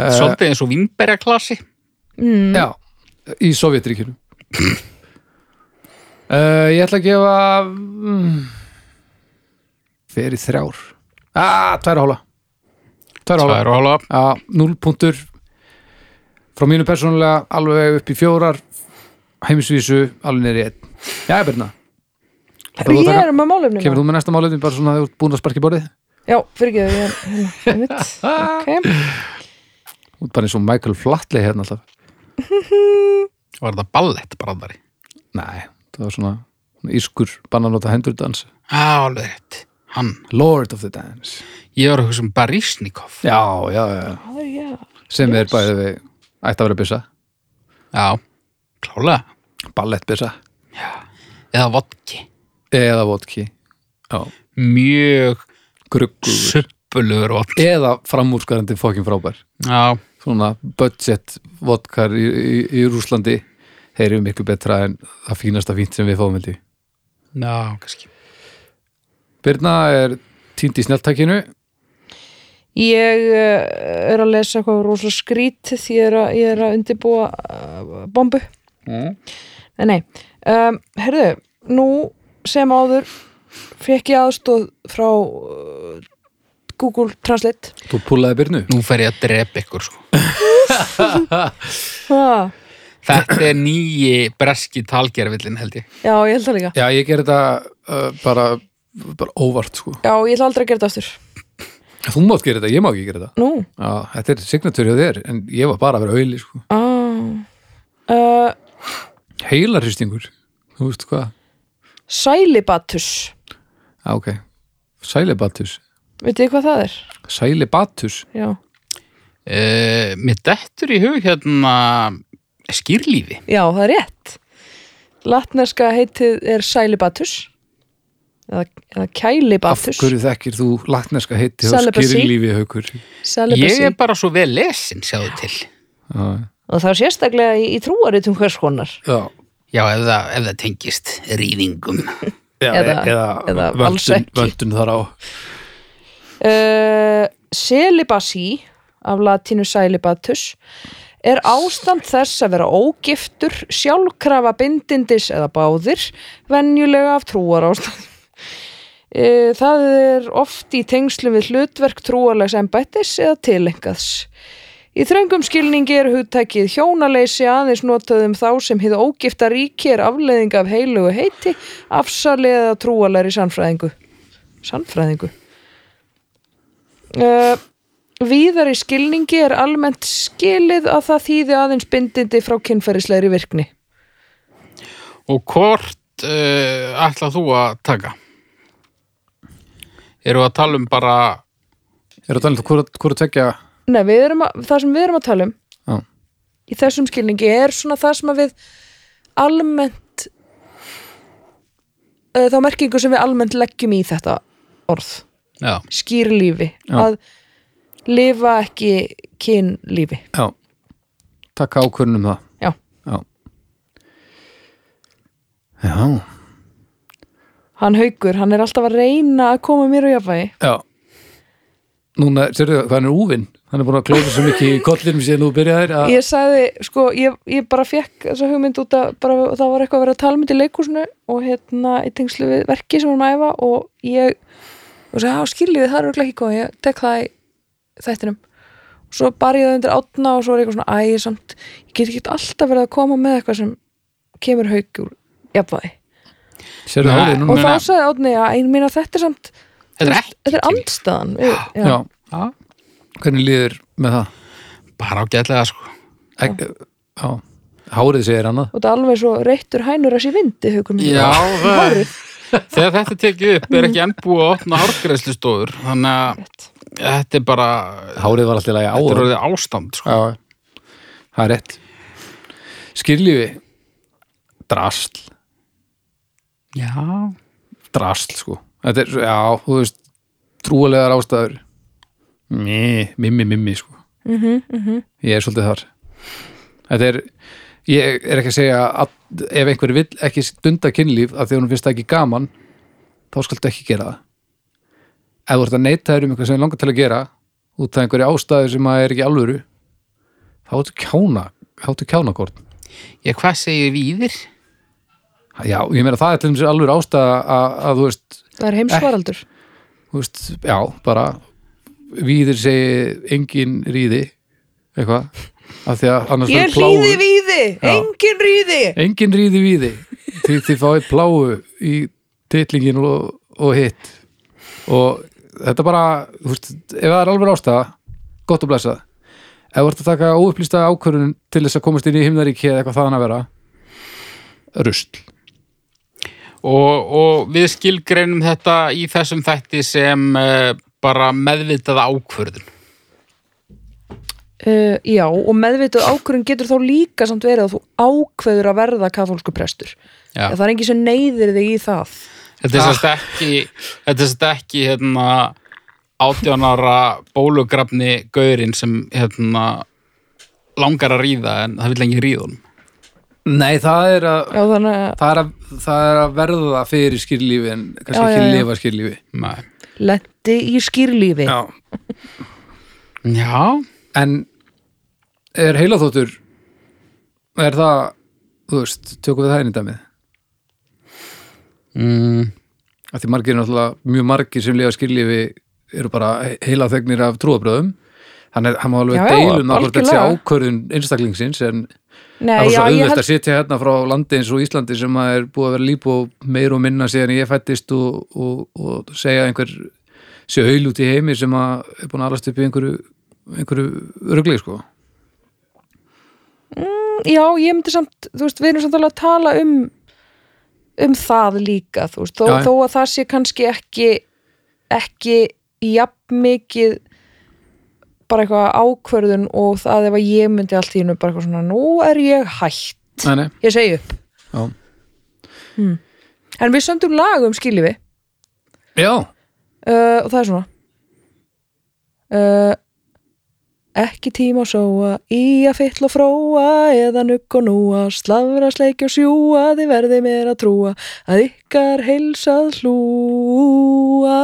A: eh,
B: svolítið eins og vimberja klasi
A: Já, í Sovjetríkinu uh, Ég ætla að gefa mm, fyrir þrjár ah, Tvær og hóla Tvær og hóla
B: tvær og hálfa
A: Já, núll punktur Frá mínu persónulega alveg upp í fjórar heimisvísu, alveg nýri einn Já, Birna, þú
C: ég
A: taka-
C: er með málefnina
A: kemur þú með næsta málefni bara svona að þú ert búin að sparka í borðið?
C: Já, fyrirgeðu, ég er hérna, einmitt Ok,
A: Þú ert bara eins og Michael Flatley hérna alltaf
B: var það ballett brandari
A: Nei, það var svona svona írskur bananóta hendurdans
B: á, alveg rétt, hann
A: Lord of the Dance
B: Ég var að hugsa um Baryshnikov.
A: Já, já, já, já
C: það er ég
A: sem er bæðið við ætti að vera byssa,
B: Já, klálega.
A: ballettbyssa
B: Eða vodki.
A: eða vodki
B: Mjög
A: gruggur
B: suppulugur vodki.
A: eða framúrskarandi fókin frábær
B: Já,
A: svona budget vodkar í, í, í Rúslandi þeir eru miklu betra en það fínasta fínt sem við fáum held í.
B: já, kannski.
A: Birna er týnd í snjáltakinu
C: Ég eh, er að lesa eitthvað rosa skrít því ég er að, ég er að undirbúa eh, bombu
A: Mm.
C: Nei, nei um, Herðu, nú sem áður fekk ég aðstóð frá eh, Google Translate
A: þú púlaði Birnu
B: Nú fer ég að drepa ykkur, sko.
C: ha,
B: Þetta er nýji breski talgervillin held ég.
C: já, ég held það líka
A: Já, ég gerði þetta uh, bara, bara óvart sko.
C: já, ég ætla aldrei að gera þetta aftur
A: Þú mátt gera þetta, ég má ekki gera þetta
C: nú,
A: Já, þetta er signatur hjá þér, en ég var bara að vera auðli sko.
C: ah. uh,
A: Heilarhristingur, þú veist hvað
C: sælibatus
A: Já, ok, sælibatus
C: veit þið hvað það er?
A: Sælibatus,
C: já,
B: Uh, mér dettur í hug hérna skýrlífi.
C: já það er rétt latneska heitið er sælibatus eða, eða
A: af
C: kælibatus
A: hverju þekkir þú latneska heiti og
C: Celibacy.
A: skýrlífi haukur
B: Ég
C: Celibacy.
B: er bara svo vel lesin, sjáðu til.
A: Já,
C: og það er sérstaklega í, í trúaritum hvers konar
A: já
B: Já, ef það, ef það tengist rýðingum.
A: Já, e-
C: Eða-
A: eða,
C: eða alls
A: vöndun,
C: ekki.
A: vöndun þar á
C: uh, Celibacy af latinu celibatus er ástand þess að vera ógiftur sjálfkrafa bindindis eða báðir venjulega af trúar ástand Það er oft í tengslum við hlutverk trúarlegs embættis eða tilengaðs. Í þröngum skilningi er hugtækið hjónaleysi aðeins notað um þá sem hið ógifta ríki er afleiðing af heilugu heiti, afsali eða trúarlegri sannfræðingu. Sannfræðingu? Uh, víðar í skilningi er almennt skilið að það þýði aðeins bindindi frá kynferðislegri virkni.
B: Og hvort uh, ætla þú að taka? Eru að tala um bara,
A: Er það talið, hvort hvort tvekja
C: Nei, við erum að, það sem við erum að tala um
A: Já,
C: í þessum skilningi er svona það sem að við almennt uh, þá merkingu sem við almennt leggjum í þetta orð,
B: já,
C: skýrlífi,
A: Já.
C: að lifa ekki kynlífi.
A: já Takka ákvörunum um það
C: Já,
A: Já Já,
C: hann haukur, hann er alltaf að reyna að koma mér á jafnvægi.
A: já. Núna, sérðu það, hvað hann er úvinn Hann er búin að klósa svo mikið í kollinum síðan þú byrjaðir
B: Ah.
A: að
C: ég sagði, sko, ég, ég bara fekk þessa hugmynd út að bara, það var eitthvað að vera að tala mynd í leikhúsinu og hérna í tengslu við verki sem var maður æfa og ég og sagði, á skiljiði, það er örugglega ekki góð ég tek það í þættinum svo bar ég það undir átna og svo var ég eitthvað svona æ, ég samt, ég get ekki alltaf verið að koma með eitthvað sem kemur haugjúr jafnvæði
A: Sérðu
B: Nei.
A: hárið
C: og
A: núna
B: Núna-
C: þá sagði átni, já, ein mín að þetta er samt
B: þetta er ekki.
C: þetta er andstaðan já,
A: já.
C: já.
B: Já,
A: hvernig líður með það?
B: bara ágætlega sko.
A: Ek, já. Hárið segir annað
C: og það er alveg svo reittur hænur að sé vindi haugur minn
B: Já, það, þegar þetta er tekið upp er ekki enn búið að opna hárgreðslustofur þannig að þetta er bara
A: Hárið var alltaf lægi á
B: þetta er
A: það
B: orðið ástand sko.
A: Já, það er rétt Skýrlífi Drasl,
B: Já,
A: drasl sko Þetta er, já, þú veist trúalegar ástæður Mí, mimmi, mimmi sko Ég er svolítið þar Þetta er Ég er ekki að segja að ef einhver vill ekki stunda kynlíf af því að hún finnst það ekki gaman þá skaltu ekki gera það Ef þú ert að neita þér um eitthvað sem er langar til að gera út af einhverju ástæðu sem að er ekki í alvöru þá áttu kjána áttu kjánakort
B: ég hvað segir víðir?
A: Já, ég meina það er til þess alvöru ástæða að, að þú veist
C: það er heimsvaraldur
A: þú veist, já, bara víðir segi engin ríði eitthvað af því að annars
C: Ég
A: verður
C: hlýði víði,
A: Já.
C: engin ríði
A: engin ríði víði því þið fáið pláu í titlingin og, og hitt og þetta bara þú veist, ef það er alveg ástæða gott að blessa ef þú ert að taka óupplýsta ákvörun til þess að komast inn í himnaríki eða eitthvað þaðan að vera rusl
B: Og, og við skilgreinum þetta í þessum þætti sem uh, bara meðvitaða ákvörðun.
C: uh, Já, og meðvituð ákvörun getur þá líka samt verið að þú ákveður að verða katholsku prestur
B: Já.
C: Það er engin sem neyðir þig í það
B: Þetta er sérst ekki, þetta er sérst ekki hérna, 18 ára bólugrafni gaurinn sem hérna, langar að ríða en það vil lengi ríða honum.
A: Nei, það er að
C: Já, þannig að
A: það er, að, það er að verða fyrir skýrlífi en kannski
C: Já,
A: ekki
C: já, já.
A: lifa skýrlífi
B: Nei.
C: lendi í skýrlífi
A: já.
B: Já,
A: en er heilaþóttur er það þú veist, tökum við það inn í dæmið
B: mm,
A: af því margir náttúrulega mjög margir sem lifa skýrlífi eru bara heilaþegnir af trúabröðum þannig að hann má alveg
C: Já, já,
A: deilum að hvort þetta sé
C: algjörlega.
A: ákvörðun einstaklingsins en það er
C: Nei, já,
A: svo
C: ég
A: auðvelt
C: held
A: að sitja hérna frá landi eins og Íslandi sem að er búið að vera líp og meir og minna síðan ég fættist og, og, og segja einhver sé auðl út í heimi sem að er búin að alast upp í einhverju, einhverju rugli sko
C: já, ég myndi samt, þú veist, við erum samt alveg að tala um um það líka, þú veist, þó,
A: Já, já.
C: þó að það sé kannski ekki ekki jafn mikið bara eitthvað ákvörðun og það ef að ég myndi allt í hennu bara eitthvað svona, nú er ég hætt
A: Nei, nei,
C: ég segi upp, Hmm.
A: já,
C: en við söndum lag um skiljifi
A: já
C: uh, og það er svona uh, ekki tíma að sóa í að fytla og fróa eða nugg og núa slafra, sleikja og sjúa þið verði mér að trúa að ykkar heilsað hlúa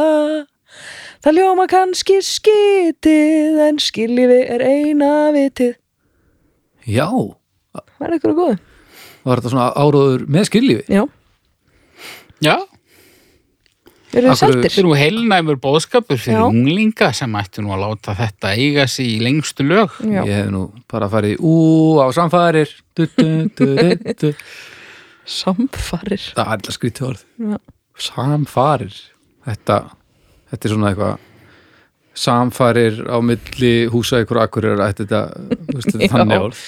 C: það ljóma kannski skitið en skiljifi er eina vitið
A: Já,
C: var ykkur að góðu?
A: var þetta svona áróður með skiljifi
C: Já,
B: Já,
A: Af
C: eru þið
A: hverju-
C: seltir?
B: þetta er nú heilnæmur bóðskapur fyrir
C: Já.
B: unglinga sem ættu nú að láta þetta eiga sig í lengstu lög.
C: Já,
A: Ég hef nú bara farið í ú á samfærir du, du, du, du, du.
C: samfarir
A: Það er alltaf skrítið orð
C: Já.
A: Samfarir Þetta, þetta er svona eitthvað Samfarir á milli húsa ykkur akkurir Þetta, þetta, þú veist, þetta er
C: Já.
A: þannig orð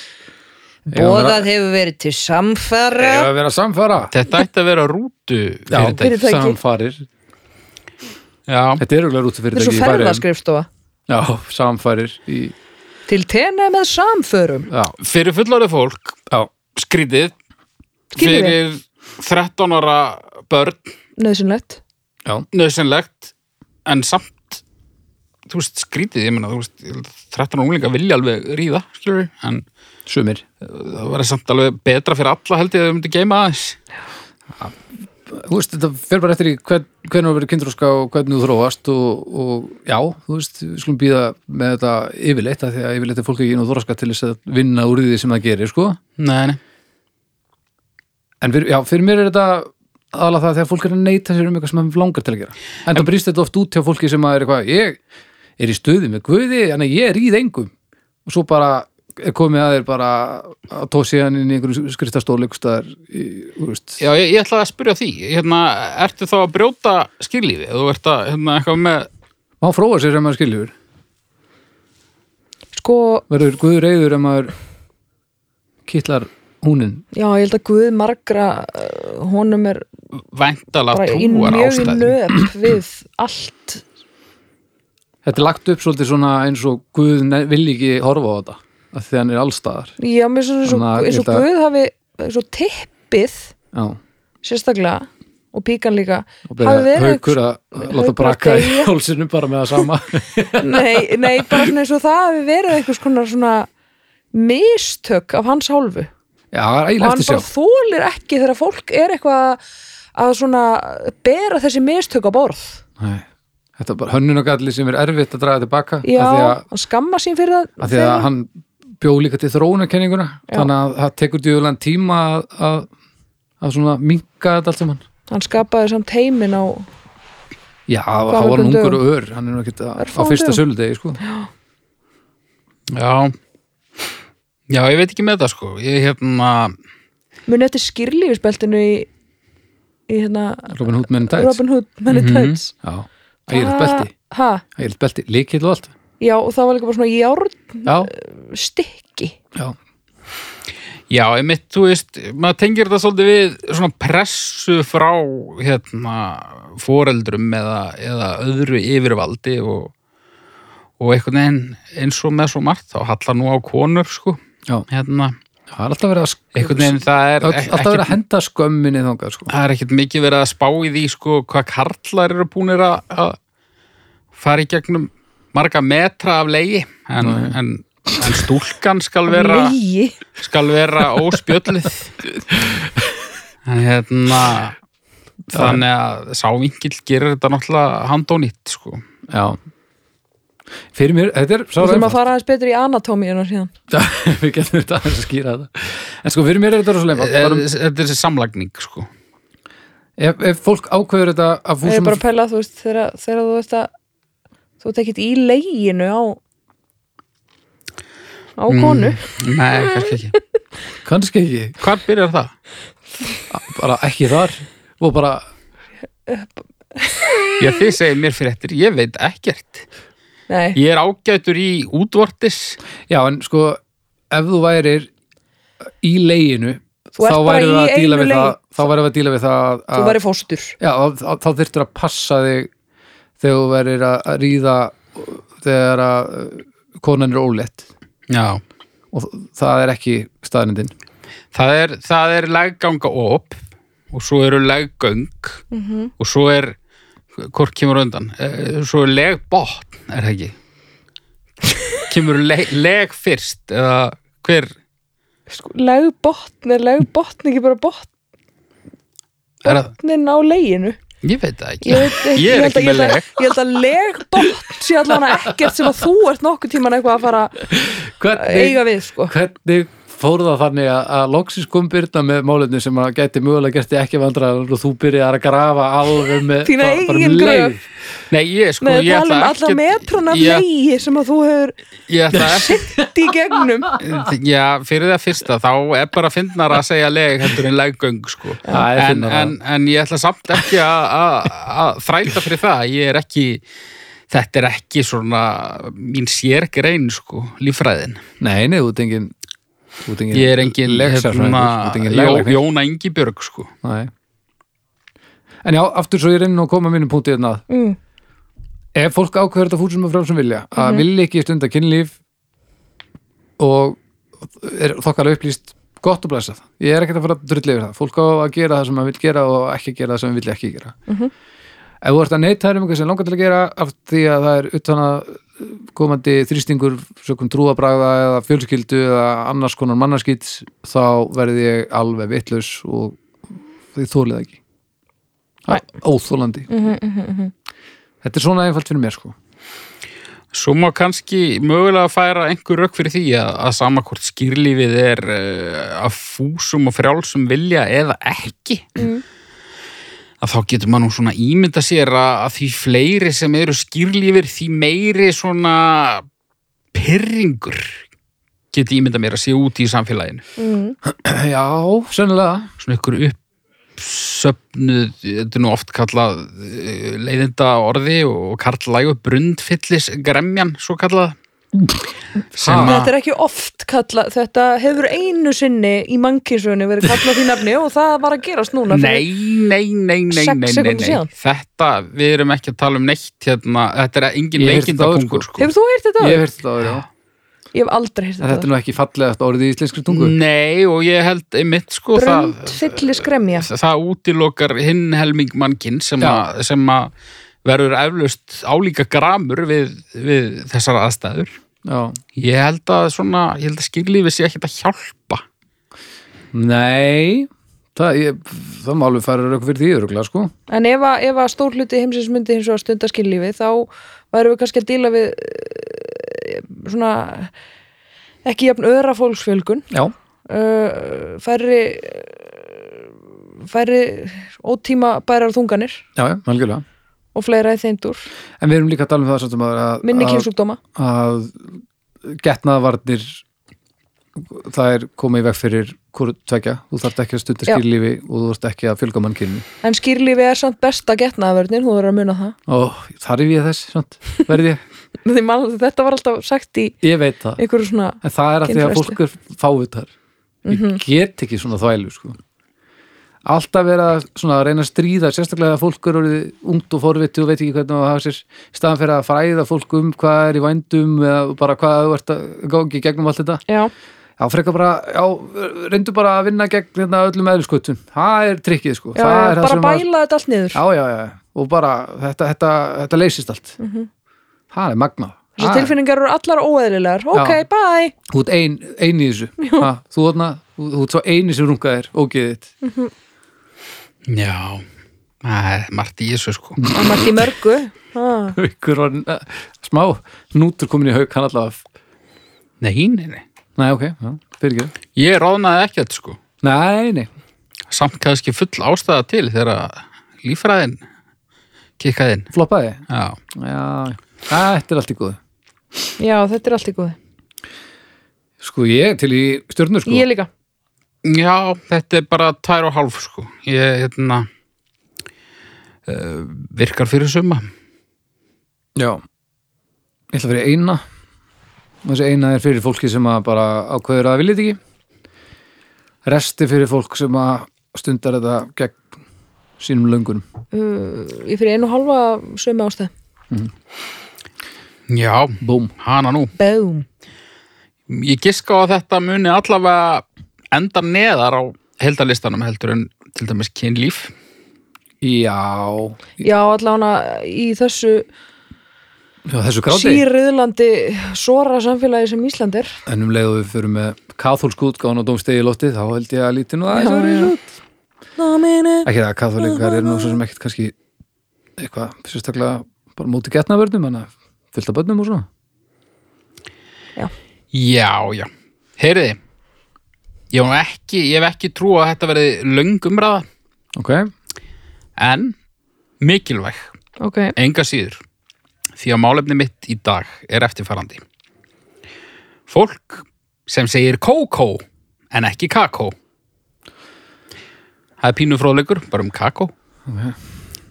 A: Eigum að vera-
C: Bóðað hefur verið til samfara
A: eigum að vera samfara
B: Þetta ætti að vera rútu fyrirtæki.
C: Fyrirtæki.
A: samfarir
B: Já,
A: Þetta er auðvitað rútu
C: Þetta er
A: fyrirtæki
C: svo sko.
A: í Færeyjum.
C: ferðaskrifstofa
A: Já, samfarir í,
C: Til tena með samförum
A: já,
B: fyrir fullorðið fólk,
A: já,
B: skrítið,
C: Skiljifi.
B: fyrir 13 ára börn,
C: Nauðsynlegt
A: já,
B: nöðsynlegt, en samt, þú veist, skrítið, ég meina, þú veist, ég held að 13 ára unglinga vilja alveg ríða, skilur við, en
A: sumir
B: það var samt alveg betra fyrir alla held ég að þau myndi geima aðeins.
A: þú veist, þetta fer bara eftir í hvern, hvernig þú verið kindróska og hvernig þú þróast og, og já, þú veist, við skulum býða með þetta yfirleitt, af því að yfirleitt er fólk ekki nú þróska til þess að vinna úr því sem það gerir, sko
B: Nei, nei.
A: en fyrir, já, fyrir mér er þetta aðalega það þegar fólk er að neyta sér um eitthvað sem það langar til að gera en það brýst þetta oft út hjá fólki sem að er eitthvað ég er í stöði með guði, en ég er í þengum og svo bara er komið að þeir bara að tósi hann inn í einhverjum skriftastóli einhvers staðar í, þú veist,
B: Já, ég, ég ætlaði að spyrja því, hérna, ertu þá að brjóta skilífi, þú ert að, hérna, eitthvað með,
A: má fróa sér sem maður skiljur
C: Sko,
A: verður guður reyður ef maður kittlar húnin
C: já, ég held að Guð margra uh, honum er
B: væntala
C: bara í
B: trúar
C: mjög í
B: ástæði.
C: nöp við allt
A: þetta er lagt upp svolítið svona eins og guð ne- vilji ekki horfa á þetta af því að hann er allstaðar
C: Já, mér svo eins og,
A: Þannig að
C: eins
A: ég
C: og
A: held
C: Guð hafi svo tippið
A: já,
C: sérstaklega og píkan líka
A: og byrja haukur að láta
C: Haukur
A: braka í
C: deyja.
A: hálsinu bara með það sama
C: nei, nei, bara svona eins og það hafi verið einhvers konar svona mistök af hans hálfu
A: já, það er
C: og
A: eiginlega
C: hann
A: eftir sjá
C: bara þólir ekki þegar fólk er eitthvað að svona bera þessi mistök á borð
A: Nei, þetta er bara hönnunagalli sem er erfitt að draga tilbaka af því
C: Já,
A: að,
C: hann skamma sín fyrir það
A: af því að hann bjó líka til þróunakenninguna þannig að það tekur djöfulegan tíma að, að, að svona minka þetta allt saman
C: hann skapaði samt heiminn á
A: já, þá var hann
C: mörgum
A: ungur
C: dögum?
A: og ör hann er nú ekkert að- á
C: Örfáum
A: fyrsta
C: dögum.
A: söludegi sko.
B: Já Já, ég veit ekki með það sko Ég hérna
C: muni eftir skýrlífisbeltinu í, í hérna
A: Robin Hood menn tætt
C: Robin Ah. Hood Many
B: Mhm.
C: mm -hmm. Tides
A: Já, ægilegt belti,
C: ha,
A: ægilegt belti, líkill og allt
C: Já, og það var líka bara svona járn
A: Já,
C: stykki
A: já,
B: Já, ég mitt, þú veist, maður tengir þetta svolítið við svona pressu frá hérna foreldrum eða, eða öðru yfirvaldi og, og einhvern veginn eins og með svo margt þá hallar nú á konur sko
A: já
B: hérna,
A: Það er alltaf verið að
B: einhvern veginn það er
A: öll- alltaf verið að
B: ekkert,
A: henda skömminni þangað sko.
B: það er ekkert mikið verið að spá í því sko hvað karlar eru búinir að- að fara í gegnum marga metra af leiði en, en, en stúlkan skal vera
C: Legi
B: skal vera óspjöllið en hérna þannig að sávingil gerir þetta náttúrulega handónýtt sko.
A: Já Fyrir mér, þetta er
C: Þú
A: sára
C: þurfum að fara aðeins betur í anatómi en síðan
A: einfalt Við getum þetta aðeins að skýra þetta En sko, fyrir mér er þetta
B: Eh,
A: rosalega einfalt Bara um-
B: þetta er þessi samlagning sko. Eh,
A: ef, ef fólk ákveður þetta af
C: Ég er
A: fúsum
C: bara að pæla, þú veist, þegar, þegar þú veist að þú ert ekkit í leginu á á konu
B: Mm. nei, kannski ekki
A: kannski ekki,
B: Hvar byrjar það?
A: bara ekki þar og bara,
B: Já, þið segir mér fyrir eftir, ég veit ekkert.
C: Nei,
B: Ég er ágætur í útvortis.
A: já en sko ef þú værir í leginu
C: Þú ert
A: þá
C: bara
A: værir
C: í
A: það að díla
C: einu
A: við
C: legi.
A: það þá værir það að díla við það
C: þú
A: að,
C: væri fóstur
A: já, þá- þá, þá þyrftur að passa þig þegar þú værir að að ríða þegar að uh, konan er ólétt
B: Já.
A: og það er ekki staðnendin
B: Það er, það er legganga op og svo eru leggöng -hmm.
C: Mhm.
B: og svo er, hvort kemur á undan? Eh, Svo er legbotn, er það ekki? kemur leg, leg fyrst eða hver?
C: sko, Legbotn er legbotn ekki bara botnin
B: Er það?
C: á leginu
B: Ég veit það ekki.
C: Ég, veit ekki,
B: Ég er
C: held
B: ekki
C: að-
B: með
C: ég held að-
B: leg.
C: Ég held að legbotn sé allan ekkert sem að þú ert nokkuð tíman eitthvað að fara að eiga við sko.
A: hvernig fór það þannig að, að loksins kom byrna með málefni sem að geti mögulega gert þig ekki vandræðan og þú byrjar að grafa alveg með
C: Þína
A: bara- bara
C: eigin
A: um leið.
C: gröf.
B: Nei, ég sko,
C: Nei,
B: ég
C: tala um
B: ætla
C: alla metrana
B: Ég-
C: legi sem að þú hefur
B: Ég ætla ekki.
C: í gegnum
B: Já, fyrir það fyrsta, þá er bara finnar að segja leg heldur en leggöng, sko.
A: Það er
B: en,
A: fyndnara.
B: en, en ég ætla samt ekki að- að að þræta fyrir það ég er ekki þetta er ekki svona mín sérgrein sko, líffræðin
A: nei, nei, þú ert engin þú ert engin
B: ég er engin, hérna,
A: legsafræðingur, þú ert engin
B: Jó,
A: leglæknir.
B: Jóna Engibjörg sko.
A: Nei. en já, aftur svo ég reynir nú að koma að mínum punkti hérna
C: Mm.
A: ef fólk ákveður þetta fúsum og fram sem vilja að vilja ekki stunda kynlíf og er þokkar upplýst gott og blessað ég er ekkert að fara að drulla yfir það fólk á að gera það sem maður vil gera og ekki gera það sem maður vil ekki gera ef þú ert að neita þér um eitthvað sem langar til að gera af því að það er utan að eh, komandi þrýstingur sökum trúabragða eða fjölskyldu eða annars konar mannarskýt þá verði ég alveg vitlaus og því þólið ekki Það er óþólandi þetta er svona einfalt fyrir mér sko
B: svo má kannski mögulega færa einhver rök fyrir því að, að sama hvort skýrlífið er uh, af fúsum og frjálsum vilja eða ekki að þá getur maður nú svona ímynda sér að, að því fleiri sem eru skýrlífir því meiri svona pyrringur geti ímynda mér að sé úti í samfélaginu
A: Já, sennilega
B: svona ykkur uppsöfnuð, þetta er nú oft kallað eh, leiðinda orði og karlægu brundfyllis gremjan, svo kallað sem
C: Þetta
B: að
C: er ekki oft kallað, þetta hefur einu sinni í mannkinsunni verið kallað því nafni og það var að gerast núna. fyrir-
B: Nei, nei, nei, nei,
C: Sex
B: nei, nei,
C: sekúndum
B: nei.
C: síðan.
B: Þetta, við erum ekki að tala um neitt hérna, þetta er engin
A: Ég hef heyrt þetta áður,
B: veikindapungur sko.
C: Hefur þú heyrt þetta?
A: Ég hef
C: Ég,
A: heyrt þetta áður, já
C: ég hef aldrei heyrt
A: En þetta
C: þetta.
A: er nú ekki fallegast orðið í íslenskri tungu
B: Nei, og ég held einmitt sko það,
C: Brönd fyllis gremja.
B: það útilokar hinn helming mannkinn sem,
A: Já.
B: að- sem að verður eflaust álíka gramur við, við þessar aðstæður.
A: Já
B: Ég held að svona, ég held að skýrlífi sé ekkert að hjálpa.
A: Nei Það, ég, það má alveg fara rauk fyrir því öruglega, sko
C: En ef að, ef að stór hluti heimsins myndi hins og að stunda skilífi þá værum við kannski að díla við eh, svona ekki jafn öðra fólksfjölgun
A: Já,
C: uh, færri færri ótíma bærar þunganir
A: já, já, algjörlega
C: og fleira í þeimdur
A: En við erum líka að tala um það samt sem að, að-
C: minni
A: að,
C: kynsúkdóma
A: að getnaðvarnir það er komið í veg fyrir hvort tvekja, þú þarft ekki að stunda
C: Já.
A: skýrlífi og þú þarft ekki að fjölga mannkynni
C: En skýrlífi er samt besta getnaðvörnin, þú verður að muna það.
A: og þarf ég þess, sant, verði ég
C: Því man, þetta var alltaf sagt í
A: Ég veit það,
C: einhverju svona,
A: en það er að því að
C: Kynfræðslu.
A: fólk er fávitar ég
C: Mhm.
A: get ekki svona þvælu sko. alltaf vera svona að reyna að stríða sérstaklega að fólk er orðið ungt og forviti og veit ekki hvernig það hafa sér í staðan fyrir að fræða fólk um hvað er í vændum eða bara hvað þú ert að gangi gegnum allt þetta
C: já,
A: já, frekar bara, já, reyndu bara að vinna gegn hérna, öllum eðliskutum það er trikkið sko
C: já,
A: það
C: já
A: er það
C: bara
A: sem að-
C: bæla þetta allt niður.
A: já, já, já, og bara þetta, þetta, þetta leysist allt
C: Mhm.
A: það er magnað Ah.
C: Þessar
A: Það er-
C: tilfinningar eru allar óeðlilegar. Ok,
A: Já.
C: bye.
A: þú ert ein, ein í þessu ha, þú, þarna, þú, þú ert svo eini sem rungaðir ógeðið þitt
B: Já, það er margt í þessu sko.
C: Það margt í mörgu. Ha.
A: ykkur var eh, smá nútur komin í haug hann allavega
B: Nei, nei, nei.
A: nei ok, já, fyrir ekki
B: Ég ráðnaði ekkert sko.
A: nei, nei,
B: Samt kannski full ástæða til þegar að líffræðin kikkaði inn.
A: floppaði
B: Já.
A: já, þetta er allt í góð
C: Já, þetta er allt í góði.
A: sko ég til í stjörnur sko
C: Ég líka.
B: Já, þetta er bara tvær og hálf sko. Ég, hérna, uh, virkar fyrir suma.
A: Já Ég ætla að vera í eina og þessi eina er fyrir fólki sem að bara ákveður að vilja þetta ekki resti fyrir fólk sem að stundar þetta gegn sínum löngunum
C: ég fyrir einu og halva sömu ástæð
B: Já,
A: Búm
B: hana nú.
C: Bum.
B: Ég giska á að þetta muni allavega enda neðar á heldalistanum heldur en til dæmis kynlíf.
A: Já,
C: já allavega í þessu
A: já þessu gráti
C: sírriðlandi sora samfélagi sem Ísland er
A: en um leið og við fyrir með katholsk útgáðan og dómstegi í loftið þá held ég að lítið nú aðeins
C: Já,
A: að
C: já.
A: reysa út
C: Ná, meni.
A: ekki það að katholikar eru nú svo sem ekkert kannski eitthvað sérstaklega bara móti getnavörnum en að fylta börnum og svona
B: Já, já. Heyriði, ég, hef nú ekki, ég hef ekki trú að þetta verði löng umræða,
A: ok,
B: en mikilvæg,
C: ok,
B: enga síður. Því að málefni mitt í dag er eftirfarandi. Fólk sem segir kókó en ekki kakó. Það er pínu fróðleikur, bara um kakó.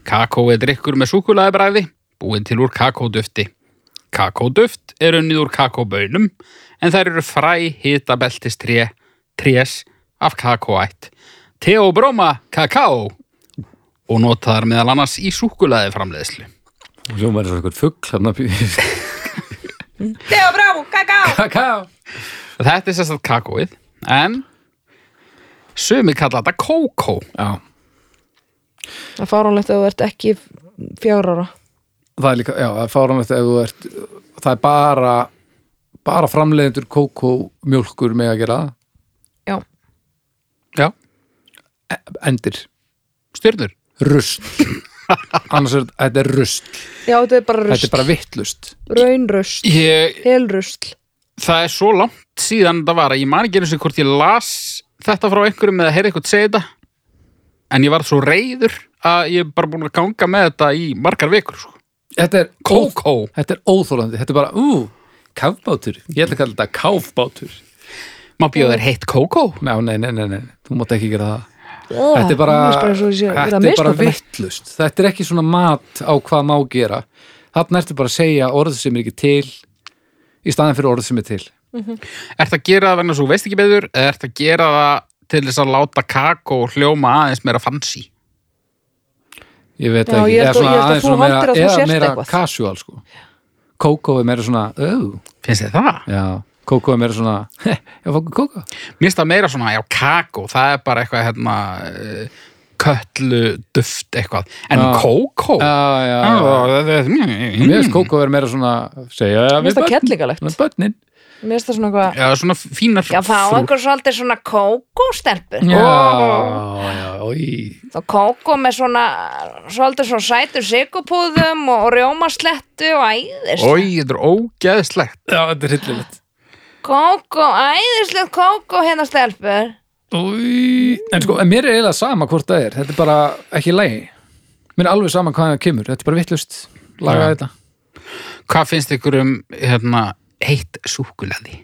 B: Kakó er drikkur með súkulæðibræði, búin til úr kakódufti. Kakóduft er unnið úr kakóbönum, en þær eru fræ hitabeltis tré, trés af kakóætt. Teobroma kakao og notaðar meðal annars í súkulæði framleiðslu.
A: og svo verður svo eitthvað fugg hérna pí-
C: Deo bravo, kakao
A: kakao
B: Þetta er sérstætt kakóið, en sumi kalla þetta kókó.
A: Já,
C: Það er fáránlegt að þú ert ekki fjár ára
A: það er líka, já, það er fáramlegt ef þú ert, það er bara bara framleiðendur kókó mjólkur með að gera það.
C: Já,
B: Já,
A: endir,
B: stjörnur.
A: rust annars er þetta er rust
C: já þetta er bara
A: þetta
C: rusl,
A: er bara vittlust
C: raunrusl,
B: Ég,
C: helrusl
B: það er svo langt síðan þetta var að ég man ekki einu sinni hvort ég las þetta frá einhverjum eða heyrði eitthvað segja þetta. En ég var svo reyður að ég er bara búin að ganga með þetta í margar vikur. Sko.
A: þetta er, óþ-
B: Kókó.
A: þetta er óþólandi, þetta er bara ú, káfbátur, ég ætla að kalla þetta káfbátur
B: Má bjóða þér heitt kókó.
A: Ná, nei, nei, nei, nei, þú mátt ekki gera það
C: Þetta
A: þetta er bara, þetta er bara
C: vitt
A: vittlust þetta er ekki svona mat á hvað má gera þarna ertu bara að segja orð sem er ekki til í staðan fyrir orð sem er til
B: Ertu að gera það vegna svo veist ekki beður eða ertu að gera það til þess að láta kakó hljóma aðeins meira fancy?
A: ég veit
C: Já,
A: ekki,
C: ég held
A: eða svona
C: að- ég held að
A: aðeins
C: þú
A: svona meira,
C: haldir að þú
A: eða
C: sért
A: meira
C: eitthvað.
A: casual sko kókó er meira svona oh,
B: Finnst þið það?
A: já, kókó er meira svona já, fókum kókó
B: Mér finnst það meira svona, já, kakó, það er bara eitthvað hérna eh, köllu, duft eitthvað, en
A: Já.
B: kókó
A: já, já,
B: Já,
A: já,
B: það- það- mm,
A: mér finnst kókó er meira svona segja já,
C: Mér finnst
A: við
C: það
A: börn-
C: kettlingalegt
A: við börnin
C: Mér finnst það svona eitthvað
B: Já, svona fínar
D: Já, fá
B: frú-
D: okkur svolítið svona kókóstelpu.
A: já, já, oi
D: Þá kókó með svona, svolítið svona sætur sigupúðum og rjómaslettu og æðis.
B: Oj, þetta er ógeðslegt
A: já, þetta er hryllilegt
D: Kókó, æðislegt kókó hérna stelpur.
A: Új, en sko, en mér er eiginlega sama hvort það er þetta er bara ekki lægi mér er alveg sama hvað það kemur, þetta er bara vittlust laga
B: Já.
A: þetta
B: Hvað finnst ykkur um hérna, heitt súkulaði?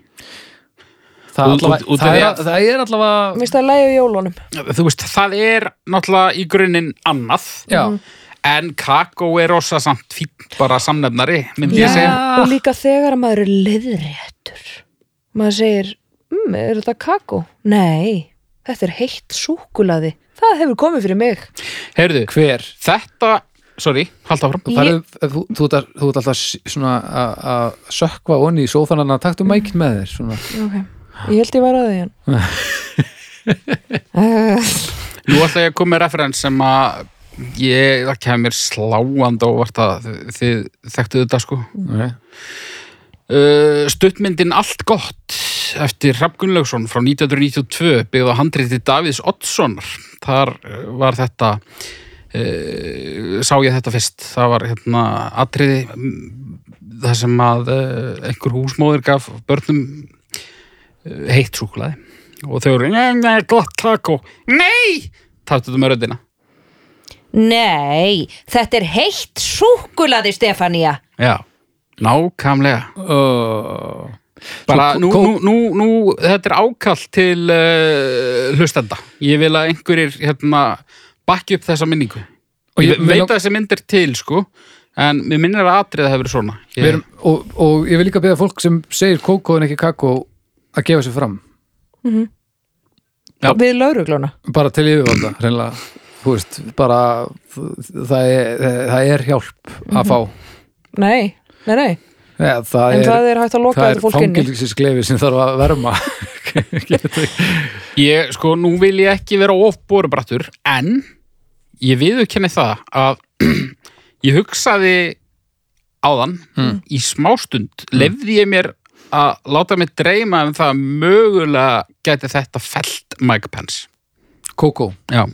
A: það,
B: Út-
A: allavega,
B: út- út af
A: það,
B: því
A: er,
B: að-
A: það er allavega
C: Mér finnst það að lægja í jólunum
B: Þú veist, það er náttúrulega í grunninn annað
A: já,
B: en kakó er rosa samt fín bara samnefnari, myndi ég segja
A: Já.
C: Og líka þegar að maður er liðréttur Maður segir mm, Er þetta kakó? Nei, þetta er heitt súkulaði Það hefur komið fyrir mig
B: Heyrðu,
A: hver
B: þetta sorry, halda áfram
A: þú, ég... þú, þú, ert að- þú ert alltaf s- svona að- að sökva onni í sófanann að taktu mækinn með þér svona.
C: okay. Ég held ég var að því hann
B: Nú ætla ég að koma með referens sem að ég, það kemur mér sláandi óvart að þið- þið þekktu þetta sko.
A: okay.
B: Uh, stuttmyndin Allt gott eftir Hrafn Gunnlaugsson frá 1992 byggða handriti Davids Oddssonar. Þar eh, var þetta, uh, sá ég þetta fyrst, það var hérna atriði mm, þar sem að uh, einhver húsmóðir gaf börnum uh, heitt súkulaði og þau eru, nei, nei, gott kakó, nei, tættu þetta með röddina.
D: Nei, þetta er heitt súkulaði, Stefania.
B: Já, nákvæmlega
A: oh.
B: bara
A: Svo
B: nú,
A: kó-
B: nú, nú, nú þetta er ákall til uh, hlustenda ég vil að einhverjir hérna, bakki upp þessa minningu
A: Og
B: ég,
A: ég-
B: veit
A: mig
B: að
A: lang-
B: þessi mynd er til sko en mér minnir að atriða hefur verið svona ég,
A: Við erum, og, og ég vil líka beða fólk sem segir kókó en ekki kakó að gefa sér fram
B: Já.
C: við laurugluna
A: bara til yfirvalda reynilega, þú veist, bara það er, það er hjálp að fá
C: nei, nei, nei,
A: ja, það,
C: Mhm. en
A: er,
C: það er hægt að loka
A: það er
C: þetta fólk inni
A: fangilsisklefi sem þarf að verma
B: ég sko nú vil ég ekki vera ofborubrattur en ég viðurkenni það að ég hugsaði áðan í smástund lefði ég mér að láta mig dreyma um það að mögulega gæti þetta felt Mike Pence
A: kókó
B: Já,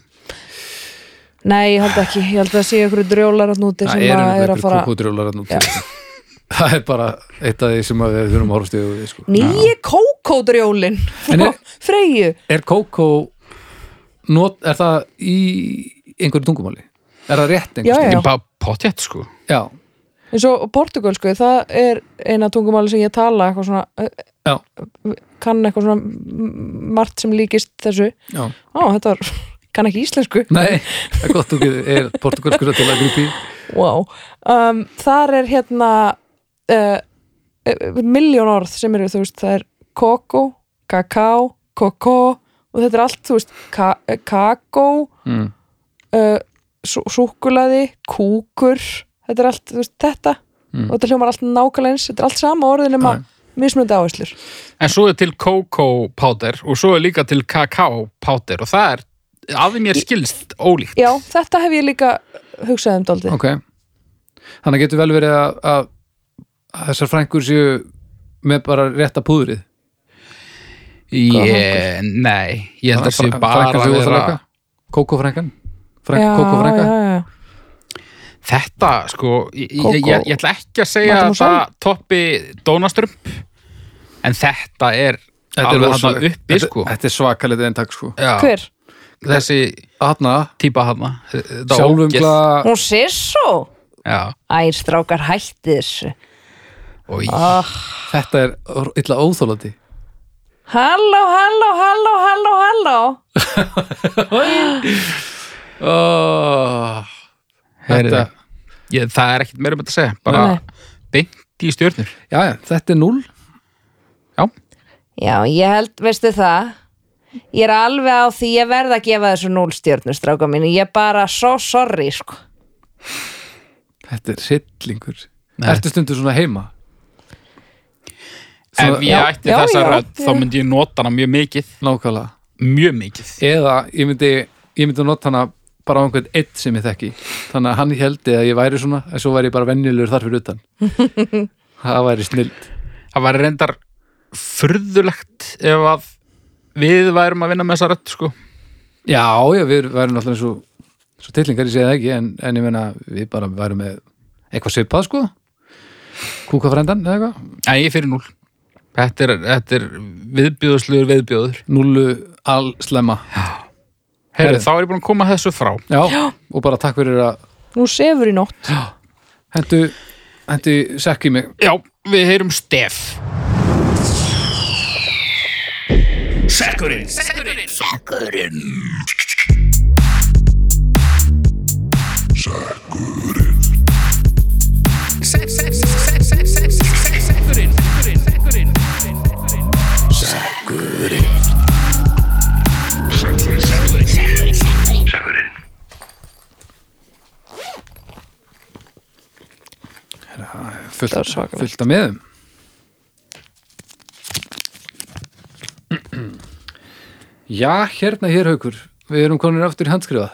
C: nei, ég held ekki, ég held að sé ykkur drjólar að núti
A: það
C: sem
A: er
C: að er
A: einhverjum
C: að fara
A: kókódrjólar þarna úti. sko. það er bara eitt af því sem að við þurfum að horfst yfir við, sko.
C: nýji kókódrjólin
A: En
C: frá
A: er-
C: Freyju
A: er kókó not, er það í einhverju tungumáli? er það rétt
C: Já,
A: einhverju?
B: ég bara potjett sko
A: já,
C: eins og portugalsku, það er eina tungumáli sem ég tala eitthvað svona eh,
A: já,
C: kann eitthvað svona m- margt sem líkist þessu
A: já.
C: á, þetta var, kann ekki íslensku
A: Nei, það er gott þú getur, er portugalskur að til að grípi
C: wow. um, þar er hérna uh, miljón orð sem eru, þú veist, það er koko, kakao, koko og þetta er allt, þú veist, ka eh, kakó
A: Mm.
C: uh, sú- súkkulaði, kúkur þetta er allt, þú veist, þetta
A: Mm.
C: og þetta hljómar allt nákvæmlega eins, þetta er allt sama orðin um að mismunandi áherslur
B: En svo er til cocoa powder og svo er líka til cacao powder og það er að því mér skilst ólíkt
C: já, þetta hef ég líka hugsað um daldið
A: Ok Þannig getur vel verið að, að, að þessar frængur séu með bara rétta púðrið
B: Ég, nei, ég held að sé
A: Frængan
B: bara að
A: séu
B: vera
A: óþarleika Kókófrængan
C: já,
A: Frænk,
C: já,
A: Kókófrængan
C: já,
B: Þetta, sko, ég, ég,
C: Kókó.
B: ég, ég ætla ekki að segja
C: Matur
B: að
C: nú
B: það toppi Dónastrump en þetta er alveg
A: rosa-
B: þarna uppi,
A: þetta,
B: sko
A: þetta er svakalit eintak sko
B: Já,
C: hver?
B: Þessi
A: Þarna,
B: típa hana
A: sjálfumgla
D: Hún sér svo
B: Já,
D: Æ, strákar hætti þessu
B: og ég
C: Ah.
A: Þetta er illa óþólandi
D: Halló, halló, halló, halló, halló
A: oh, Þetta
B: Ég, það er ekkert meira um þetta að segja bara
C: Nei.
B: beint í stjörnur
A: Já, já, þetta er núll
B: já,
D: Já, ég held, veistu það Ég er alveg á því ég verð að gefa þessu núlstjörnu stráka mínu Ég er bara so sorry, sko
A: Þetta er sillingur
B: Nei.
A: Ertu stundur svona heima?
B: ef ég
C: já,
B: ætti
C: já,
B: þessa
C: já,
B: rödd þá
C: já.
B: myndi ég nota hana mjög mikið
A: Nákvæmlega
B: mjög mikið
A: eða ég myndi, ég myndi nota hana bara á einhvern eitt sem ég þekki þannig að hann heldi að ég væri svona en svo væri ég bara venjulegur þar fyrir utan það væri snild
B: það var reyndar furðulegt ef að við værum að vinna með þessa rödd sko.
A: já, já, við værum alltaf eins og svo tillingar, ég segi það ekki en, en ég meina, við bara værum með eitthvað svipað sko kúkafrendan eða eitthvað,
B: en ég fyrir núl þetta er, þetta er viðbjóðsluður viðbjóður
A: núlu allslemma
B: Heru,
A: Herðu.
B: þá er ég búin að koma þessu frá
A: já, og bara takk fyrir að
C: nú sefur í nótt
A: hendu, hendu sekk í mig
B: já, við heyrum stef Sekkurinn Sekkurinn Sekkurinn
A: fullt,
C: var svakalegt.
A: fullt af meðum Já, hérna hér haukur við erum konir aftur í handskrifað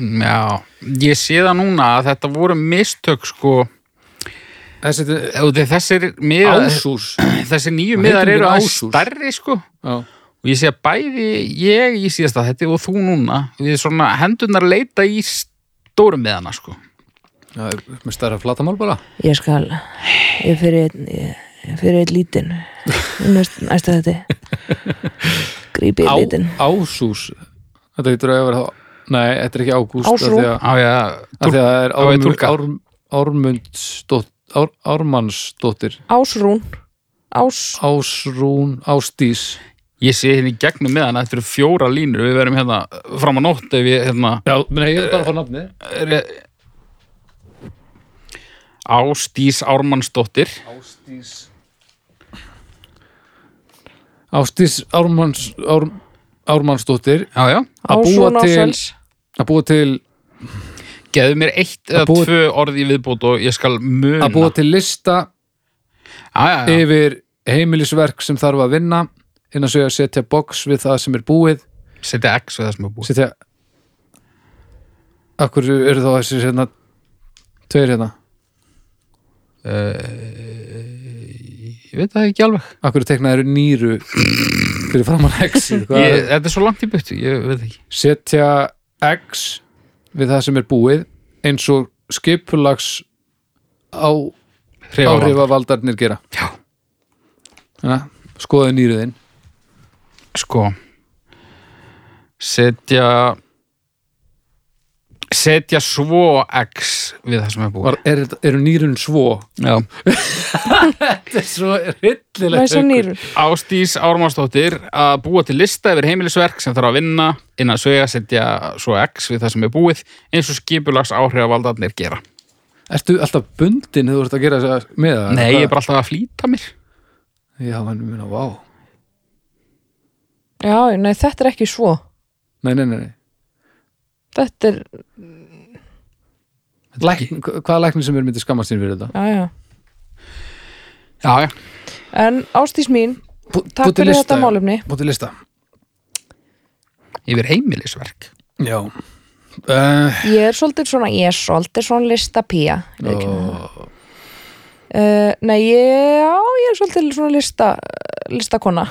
B: Já, ég sé það núna að þetta voru mistök sko
A: Þessi
B: og þe- þessir miðar
A: ásús
B: þessir nýju
A: Hvað
B: miðar
A: heitir
B: eru
A: þetta,
B: aðeins
A: Ásús?
B: stærri sko og
A: Já,
B: ég sé að bæði ég í síðasta þetta og þú núna við svona hendunar leita í stórum miðana sko
A: já, með stærra flatamál bara
C: Ég skal, ég fyrir einn, ég, ég fyrir einn lítinn, næst, næsta þetta, grípi
A: Á,
C: einn lítinn.
A: Ásús Þetta heitur að vera þá Nei, þetta er ekki ágúst af
C: Ásrún.
A: því að-
B: á ég að
A: af því að það er
B: á ég að túlka?
A: Árm- Árm- Ármundsdótt- Ár- Ármannsdóttir
C: Ásrún, ás
A: Ásrún, Ástís
B: Ég sé hérna í gegnum með hana, þetta eru fjóra línur, við verðum hérna fram á nótt ef ég hérna
A: Já, nei, ég er bara að fá nafni
B: er, Ástís Ármannsdóttir.
A: Ástís Ástís Ármanns Ár, Ármannsdóttir
B: Já, já.
A: Að búa
C: ásón
A: til-
C: ásels
A: að búa til,
B: Geðu mér eitt eða
A: búa-
B: tvö orð í viðbót og ég skal muna.
A: að búa til lista
B: Já, já, já.
A: yfir heimilisverk sem þarf að vinna innan svo ég að setja box við það sem er búið
B: Setja X við það sem er búið.
A: setja Akkur eru þá þessi hérna tveir hérna,
B: Ég veit það ekki alveg.
A: akkur teknaður nýru fyrir framan exið hvað
B: Ég,
A: er-
B: þetta er svo langt í byttu, ég veit ekki.
A: setja x við það sem er búið eins og skipulags á
B: Hreyfa
A: áhrifa valdarnir gera
B: Já.
A: ja, skoðu nýruðinn
B: sko setja setja svo x við það sem er búið
A: Var, er, þetta- eru nýrun svo
B: Já.
A: þetta er svo hryllilegt
C: læsa nýrun
B: Ástís Ármannsdóttir að búa til lista yfir heimilisverk sem þarf að vinna innan sögja setja svo x við það sem er búið eins og skipulags áhrifavaldarnir gera
A: ertu alltaf bundin þegar þú ert að gera þess að með það
B: Nei, ég er bara alltaf að flýta mér
A: já, hann mun að vá
C: já, nei, þetta er ekki svo
A: nei, nei, nei, nei.
C: þetta er,
A: Lækn, hva- hvaða læknir sem er myndi skammast þín fyrir þetta
C: já, já
B: Já, já,
C: en ástís mín,
A: Bú-
C: takk
A: búið til
C: fyrir
A: lista,
C: þetta
A: já.
C: málumni
A: búið til lista
B: yfir heimilisverk
A: já uh,
C: ég er svolítið svona, ég er svolítið svona listapía ég veit ekki hvað það er. Eh, nei, ég, já, ég er svolítið svona lista, listakona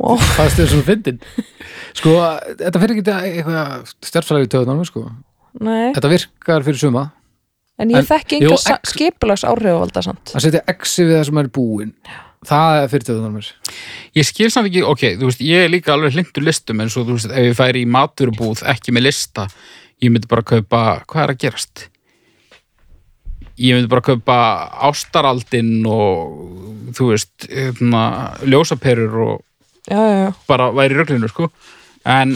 C: og
A: hvað er þetta svona fyndin sko, þetta fyrir ekki eitthvað stjárfræði töðunum sko.
C: nei,
A: þetta virkar fyrir suma
C: en ég
A: en-
C: þekki
A: jú,
C: enga
A: ex-
C: skipulags áhrifavalda samt
A: að setja exi við það sem er búin það er fyrir töðunum
B: Ég skil samt ekki, ok, þú veist, ég er líka alveg hlindur listum en svo, þú veist, ef ég færi í maturubúð ekki með lista, ég myndi bara kaupa, hvað er að gerast? Ég myndi bara kaupa ástaraldin og þú veist, hérna, ljósaperur og
C: já, já, já,
B: bara væri í röglinu, sko en,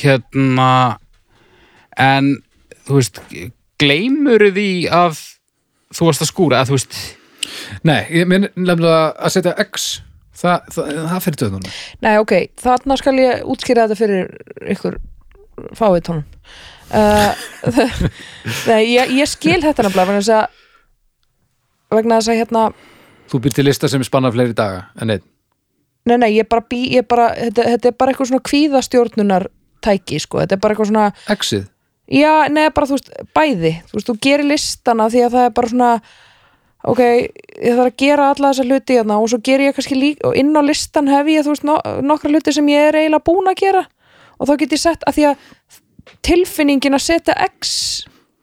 B: hérna en, þú veist gleymur því að þú varst að skúra, að þú veist
A: nei, ég minn nefnilega að setja x það, það, það fyrir töðunum
C: nei, ok þarna skal ég útskýra þetta fyrir ykkur fáið tónum uh, nei, ég, ég skil þetta nefnilega vegna þess að vegna þess að hérna
A: þú býr til lista sem spannar fleiri daga en einn
C: Nei, nei, ég bara bý, ég bara, þetta, þetta er bara eitthvað svona kvíðastjórnunar tæki, sko, þetta er bara eitthvað svona
A: exið
C: já, nei, bara, þú veist, bæði þú veist, þú gerir listana því að það er bara svona ok, ég þarf að gera alla þessa hluti hérna og svo gerir ég kannski líka, og inn á listan hef ég, þú veist, no, nokkra hluti sem ég er eiginlega búin að gera og þá get ég sett að því að tilfinningin að setja x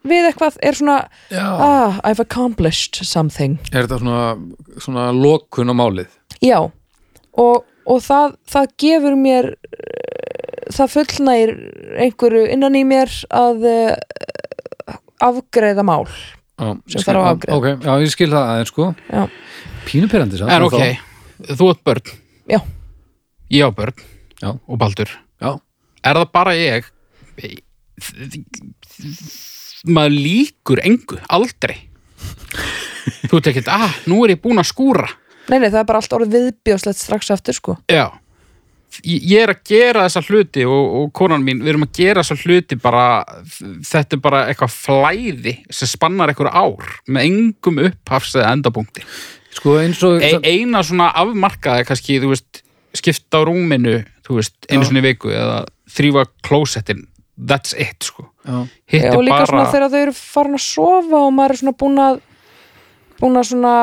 C: við eitthvað er svona
A: já.
C: ah, I've accomplished something
A: er þetta svona, svona lokun á málið
C: Já, og, og það, það gefur mér eh, það fullnægir einhverju innan í mér að eh, afgreiða mál
A: Já, ég
C: Sem þarf að
A: skil- ok, já, ég skil það aðeins sko
C: Já,
A: pínuperandi samt
B: en
A: en
B: ok,
A: þá-
B: þú átt börn
C: já,
B: ég á börn
A: Já.
B: og Baldur
A: já,
B: er það bara ég maður líkur engu, aldrei þú ert ekkert ah, nú er ég búin að skúra
C: nei, nei, það er bara allt orðið viðbjóðslegt strax eftir sko
B: já ég ég er að gera þessa hluti og, og konan mín, við erum að gera þessa hluti bara, þetta er bara eitthvað flæði sem spannar einhver ár með engum upphafs eða endapunkti
A: sko eins og
B: e, eina svona afmarkaði kannski, þú veist, skipta á rúminu þú veist, einu
A: Já.
B: svona í viku eða þrýfa klósettin, that's it sko,
A: já,
B: hitt
C: já,
B: er
C: og líka
B: bara
C: svona þegar þau eru farin að sofa og maður er svona búin að búin að svona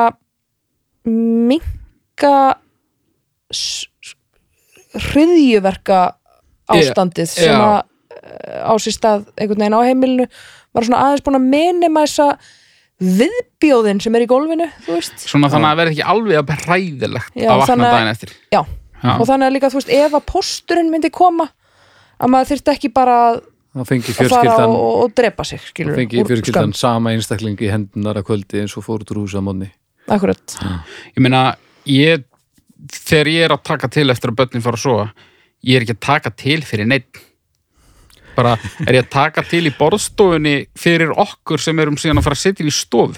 C: minka hryðjuverka ástandið
B: Já,
C: sem
B: já.
C: að eh, á sér stað einhvern veginn á heimilinu maður er svona aðeins búin að minimæsa viðbjóðin sem er í gólfinu þú veist
B: svona þannig að það verði ekki alveg að hræðilegt
C: Já,
B: að vakna
C: þannig að-
B: daginn eftir
C: Já.
B: Já.
C: og þannig að líka þú veist ef að pósturinn myndi koma að maður þyrfti ekki bara að
A: þá fengi
C: að fara
A: fjörskildan
C: og, og drepa sig
A: þá
C: skilur
A: fengi fjörskildan sama einstakling í hendunar að kvöldi eins og fór út úr húsa mótni
C: akkurat
B: ég meina, ég þegar ég er að taka til eftir að börnin fara að sofa ég er ekki að taka til fyrir neitt bara er ég að taka til í borðstofunni fyrir okkur sem erum síðan að fara að sitja í stofu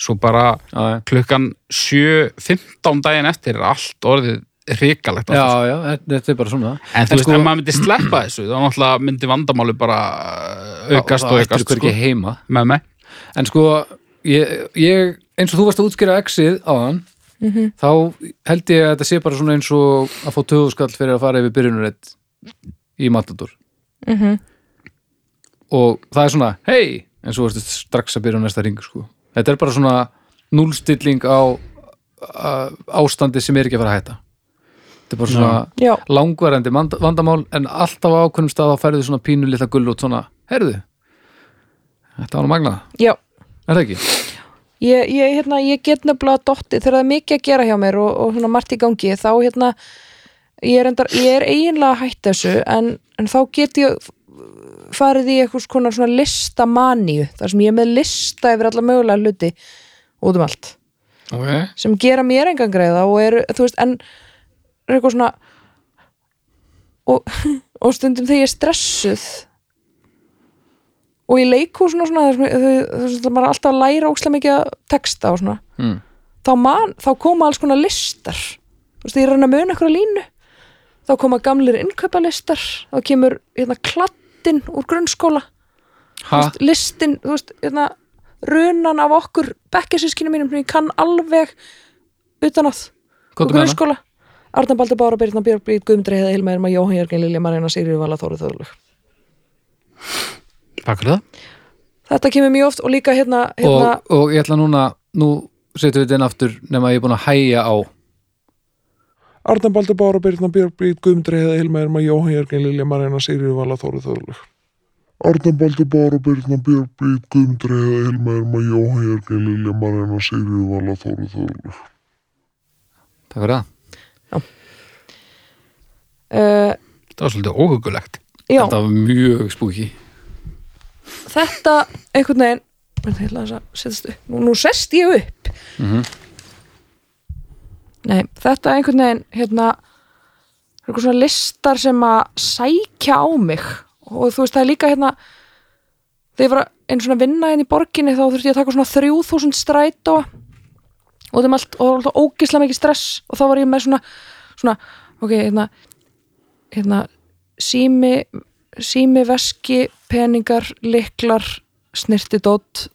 B: svo bara
A: já,
B: klukkan 7.15 daginn eftir er allt orðið hrikalegt
A: já, já, þetta er bara svona
B: En þú veist, ef maður myndi sleppa þessu, þá náttúrulega myndi vandamáli bara aukast og aukast,
A: sko.
B: sko,
A: ekki heima
B: með mig.
A: en sko, ég, ég eins og þú varst að útskýra exið á hann
C: Mhm.
A: þá held ég að þetta sé bara svona eins og að fá töðuskall fyrir að fara yfir byrjunarreitt í Matador
C: Mhm.
A: og það er svona, hei en svo ertu strax að byrja á næsta ring sko. þetta er bara svona núlstilling á á- ástandi sem er ekki að fara að hætta þetta er bara svona
C: Já.
A: langvarandi mand- vandamál en alltaf á ákveðnum stað þá færðu svona pínu litla gull út svona, heyrðu þetta var nú magnað,
C: já,
A: er það ekki?
C: ég, ég, hérna, ég get nefnilega dotti þegar það er mikið að gera hjá mér og, og svona margt í gangi þá hérna ég er, endar, ég er eiginlega að hætta þessu en, en þá get ég farið í eitthvað konar svona listamaníu þar sem ég er með lista yfir alla mögulega hluti út um allt
A: Okay.
C: sem gera mér engan greiða og eru, þú veist, en er eitthvað svona og, og stundum þegar ég er stressuð og í leikhúsinu og svona þar sem- þau- þú veist, maður er alltaf að læra ókslega mikið að texta og svona
A: Mm.
C: þá, man, þá koma alls konar listar þú veist, ég er að reyna að muna eitthvað línu þá koma gamlir innkaupalistar þá kemur hérna klattinn úr grunnskóla
A: Ha?
C: veist, listin, þú veist, hérna, runan af okkur bekkjasískinu mínum sem ég kann alveg utan að
A: Komdu með hana.
C: Arna Baldur Bára, Birna Björg, Brít, Guðmundur Heiða, Hilma Irma, Jóhann Jörgen, Lilja Marina, Sigriður Vala, Þóru Þöðlug.
B: Takk fyrir það.
C: Þetta kemur mjög oft og líka hérna,
A: og,
C: hérna
A: og ég ætla núna nú setjum við þetta inn aftur nema ég er búin að hæja á
E: Arnar Baldur Bára, Birna Björg, Brít, Guðmundur Heiða, Hilma Irma, Jóhann Jörgen, Lilja Marina, Sigriður Vala, Þóru Þörlug.
F: Arnar Baldur Bára, Birna Björn, Brít, Guðmundur, Heiða, Hilma, Irma, Jóhann, Jörgen, Lilja, Marina, Sigriður, Vala, Þóru, Þóru.
A: takk fyrir það,
C: uh,
B: Það var svolítið óhugulegt.
C: já,
A: þetta var mjög spúki
C: þetta einhvern veginn Veit, ég ætla aðeins að setjast upp. nú, nú sest ég upp Nei, þetta einhvern veginn hérna eitthvað svona listar sem að sækja á mig og þú veist það er líka hérna þegar ég var að- einu svona vinna inn í borginni þá þurfti ég að taka svona 3000 strætó og þeim allt og það var alltaf ógislega mikið stress og þá var ég með svona, svona ok, hérna hérna sími sími, veski, peningar, liklar, snirtidótt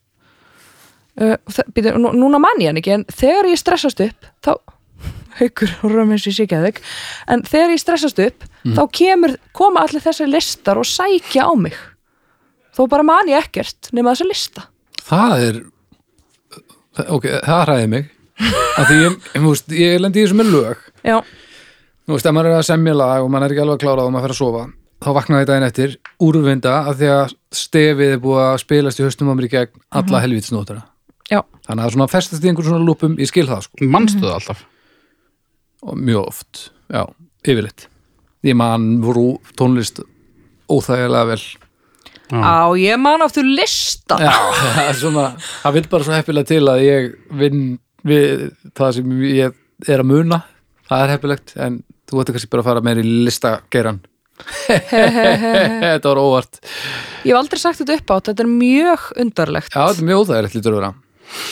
C: uh, þa- býtu, nú- núna man ég hann ekki en þegar ég stressast upp þá, haukur og römmins í síkjaðeg en þegar ég stressast upp þá kemur, koma allir þessar listar og sækja á mig þó bara man ég ekkert nema þessa lista
A: það er ok, það hræði mig af því ég, ég, múst, ég lendi í þessu með lög
C: já,
A: Nú veist, ef maður er að semja lag og maður er ekki alveg að klára og maður fer að sofa, þá vaknaði ég daginn eftir úrvinda af því að stefið er búið að spilast í höstum á mér í gegn alla helvitsnótara.
C: já,
A: Þannig að það svona festast í einhverjum svona lúpum, ég skil það sko,
B: Manstu það alltaf?
A: og mjög oft, já, yfirleitt. Ég man voru tónlist óþægilega vel.
B: Já.
D: á ég man aftur lista
A: Já, það er svona, það vil bara svo heppilega til að ég vinn við það sem ég er að muna, það er heppilegt, en þú ætti kannski bara að fara meira í listageiran. Þetta var óvart.
C: ég hef aldrei sagt þetta upp átt þetta er mjög undarlegt
A: Já, þetta er mjög óþægilegt lítur að vera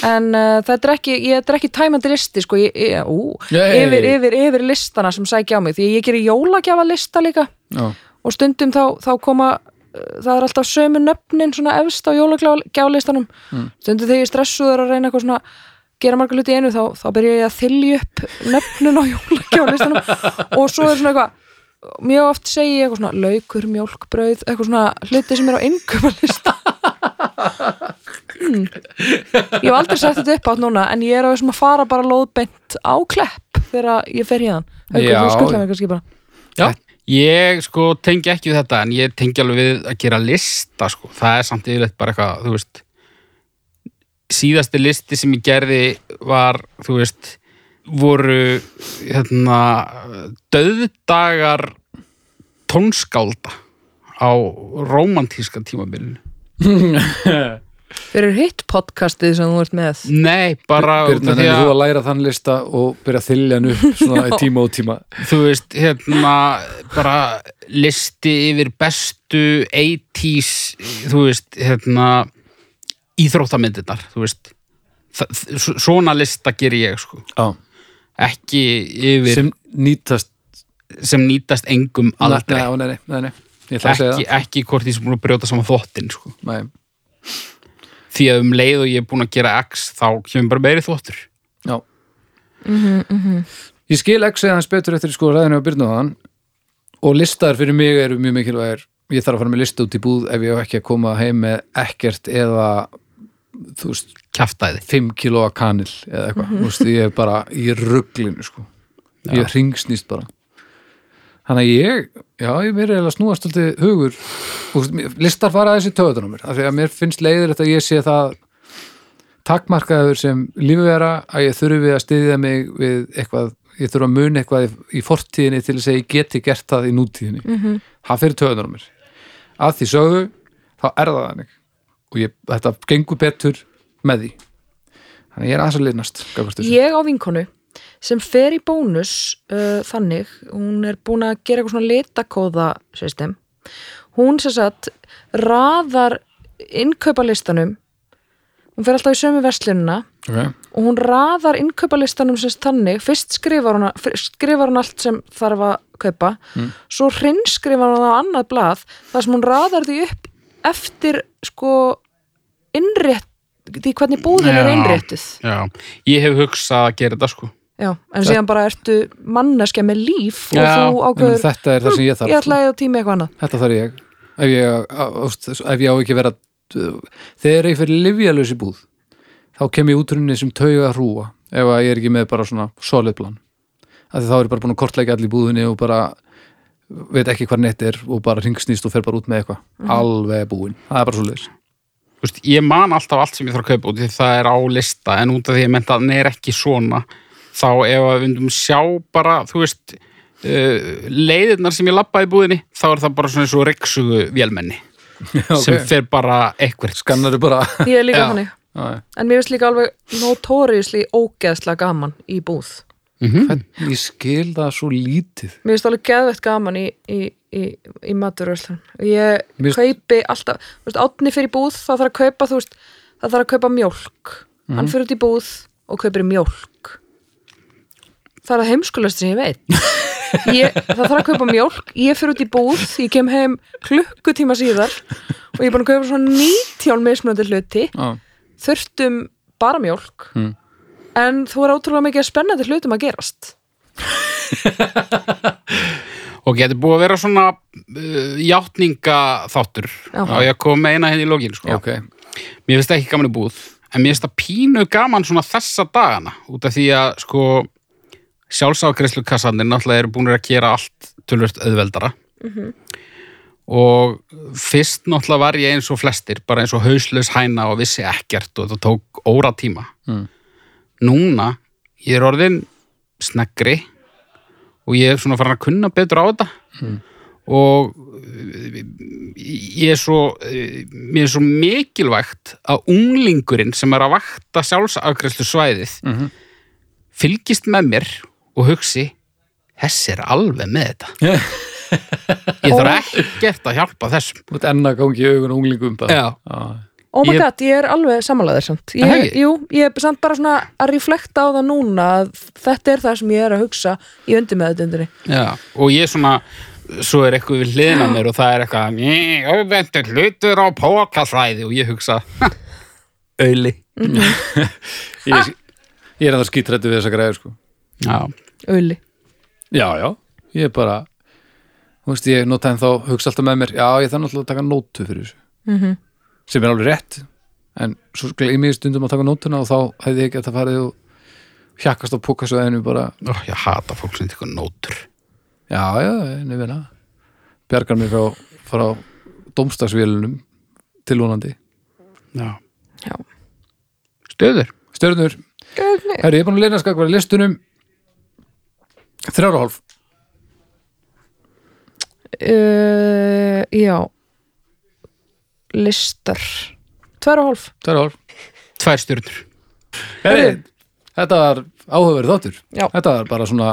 C: en uh, þetta er ekki, ég, þetta er ekki tæmandi listi sko, ég, ég, ú,
A: Nei.
C: yfir, yfir, yfir listana sem sækja á mig því ég gerir jólagjafa lista líka
A: Já,
C: og stundum þá, þá koma uh, það er alltaf sömu nöfnin svona efst á jólagjafalistanum stundum þegar ég er stressuður að reyna eitthvað svona gera marga hluti í einu þá, þá byrja ég að þylja upp nöfnin á jólagjafalistanum og svo er svona eitthvað mjög oft segi ég eitthvað svona laukur, mjólkbrauð eitthvað svona hluti sem er á innköpalista hmm. ég hef aldrei sett þetta upp átt núna en ég er að þessum að fara bara lóðbent á klepp þegar ég fer í þann
A: Já.
B: Já. Ég sko tengi ekki við þetta en ég tengi alveg við að gera lista sko. Það er samt yfirleitt bara eitthvað, þú veist síðasti listi sem ég gerði var, þú veist voru hérna, döðdagar tónskálda á rómantíska tímabilinu
C: Fyrir hitt podcastið sem þú ert með
B: Nei, bara út
A: Birna,
B: af því
A: nefnir
B: að
A: þú að læra þann lista og byrja að þylja hann upp svona í tíma og tíma
B: þú veist, hérna bara listi yfir bestu 80s þú veist, hérna íþróttamyndirnar, þú veist Þa- þ- s- svona lista ger ég sko,
A: á,
B: ekki yfir sem,
A: sem nýtast
B: nýtast engum aldrei,
A: nei, nei, nei, nei, nei. ég ætla að
B: ekki,
A: segja
B: ekki hvort því sem búin að brjóta saman þvottin sko.
A: það nei.
B: því að um leið og ég er búin að gera X þá kemur bara meiri þvottur
A: Já Ég skil ekki segja hans betur eftir sko ræðinu á byrnu þaðan og listar fyrir mig eru mjög mikilvægir ég þarf að fara með lista út í búð ef ég á ekki að koma heim með ekkert eða þú veist,
B: kjaftaði,
A: 5 kílóa kanil eða eitthvað, þú veist, ég er bara í rugglinu sko, ég hringsnýst bara Þannig að ég, já, ég mér er eiginlega að snúast alltaf hugur, Þú veist, mér- listar fara þessi töðunum mér, af því að mér finnst leiðir að ég sé það takmarkaður sem lífvera að ég þurfi að styðja mig við eitthvað, ég þurfi að muna eitthvað í- í fortíðinni til þess að ég geti gert það í nútíðinni. -hmm. Það fyrir töðunar á mér. Að því sögðu þá er það þannig og ég, þetta gengur betur með því. Þannig að ég er aðeins að liðnast. gagnvart þessu.
C: Ég á vinkonu sem fer í bónus uh, þannig, hún er búin að gera eitthvað svona litakóða system hún sem sagt raðar innkaupalistanum hún fer alltaf í sömu verslunina
A: Ok.
C: og hún raðar innkaupalistanum sem sagt þannig, fyrst skrifar hún, fyrst skrifar hún allt sem þarf að kaupa
A: Mm.
C: svo hrinnskrifar hún á annað blað þar sem hún raðar því upp eftir sko innrétt, því hvernig búðin er
B: Já.
C: innréttuð
B: já, ég hef hugsað að gera þetta sko
C: Já, en síðan bara ertu manneskja með líf og
B: Já,
C: þú
A: En
C: ákveður, "Hm,
A: Þetta er það sem ég þarf.
C: ég ætla að eða tími eitthvað annað.
A: Þetta þarf ég ef ég, á- ást- ef ég á ekki að vera þegar ég fyrir livjalösi búð þá kem ég útrunni sem tauga að hrúa ef að ég er ekki með bara svona solid plan af því þá er ég bara búin að kortleika allir í búðinni og bara veit ekki hvað neitt er og bara ringsnýst og fer bara út með eitthvað alveg búin, það er bara svo leis
B: Þú veist, ég man alltaf allt sem ég þarf að kaupa út því það er á lista en út af því ég menta að hann er ekki svona þá ef að við myndum sjá bara þú veist uh, leiðirnar sem ég labba í búðinni þá er það bara svona eins og reyksugu vélmenni sem fer bara eitthvað
A: skannar bara
C: Ég er líka
B: Já.
C: þannig.
A: Já, já.
C: En mér finnst líka alveg notoriously ógeðslega gaman í búð.
A: ég skil það svo lítið
C: Mér finnst alveg geðvett gaman í, í, í, í maturöslun. Ég
A: Mér finnst-
C: kaupi alltaf, þú veist, átni fyrir búð, það þarf að kaupa, þú veist, það þarf að kaupa mjólk.
A: Mhm.
C: Hann fyrir út í búð og kaupir mjólk. Það er það heimskulast sem ég veit. Ég, það þarf að kaupa mjólk, ég fyrir út í búð, ég kem heim klukkutíma síðar og ég er búin að kaupa svona 19 mismunandi hluti
A: Já.
C: þurftum bara mjólk
A: Mm.
C: en þú er ótrúlega mikið spennandi hlutum að gerast
B: og getur búið að vera svona uh, játninga þáttur
C: Já.
B: og ég kom með eina henni í lógin sko.
A: ok,
B: mér finnst það ekki gaman í búð en mér finnst það pínu gaman svona þessa dagana út af því að sko sjálfsákreslu kassandir náttúrulega eru búinir að gera allt tölvöld auðveldara og fyrst náttúrulega var ég eins og flestir bara eins og hauslaus hæna og vissi ekkert og þetta tók óra tíma
A: Mm.
B: núna ég er orðin sneggri og ég er svona farin að kunna betur á þetta og ég er svo eh, mér er svo mikilvægt að unglingurinn sem er að vakta sjálfsafgræslu svæðið
A: Mhm.
B: fylgist með mér og hugsi hess er alveg með þetta ég þarf ekkert að hjálpa þessum
A: þú ert enn að gangi í augun unglingum bara.
B: Já.
A: Já.
C: Oh my
B: Ég-
C: god, ég er alveg samanlegaðir samt
B: Er það
C: ég,
B: ekki?
C: Jú, ég er samt bara svona að reflekta á það núna að þetta er það sem ég er að hugsa í undir með þetta undinni
B: Já. og ég svona svo er eitthvað við hliðina á mér og það er eitthvað "Ný, óvendur hlutur á pókasvæði og ég hugsa auðli
A: ég, ég er að það skítrættu við þessa græður sko
B: Já.
C: Uli,
A: Já, já, ég er bara þú veist, ég nota en þá hugsa alltaf með mér já, ég þarf náttúrulega að taka nótu fyrir þessu -hmm. sem er alveg rétt en svo gleymi ég stundum að taka nótuna og þá hefði ég geta farið og hjakkast á pókasöðinu bara
B: Ó, ég hata fólk sem tekur nótur
A: já, já, nefnir að bjargar mér frá, frá domstagsvélunum tilvonandi
B: Já.
C: Já.
B: Stöður.
A: Stjörnur, herri, ég er búin að leina skakvar í listunum þrjára hálf
C: uh, já eh, Listar Tvær og hálf
A: tverja ár
B: Tvær stjörnur.
A: Heri, Þetta var áhugaverð þáttur
C: Já.
A: Þetta var bara svona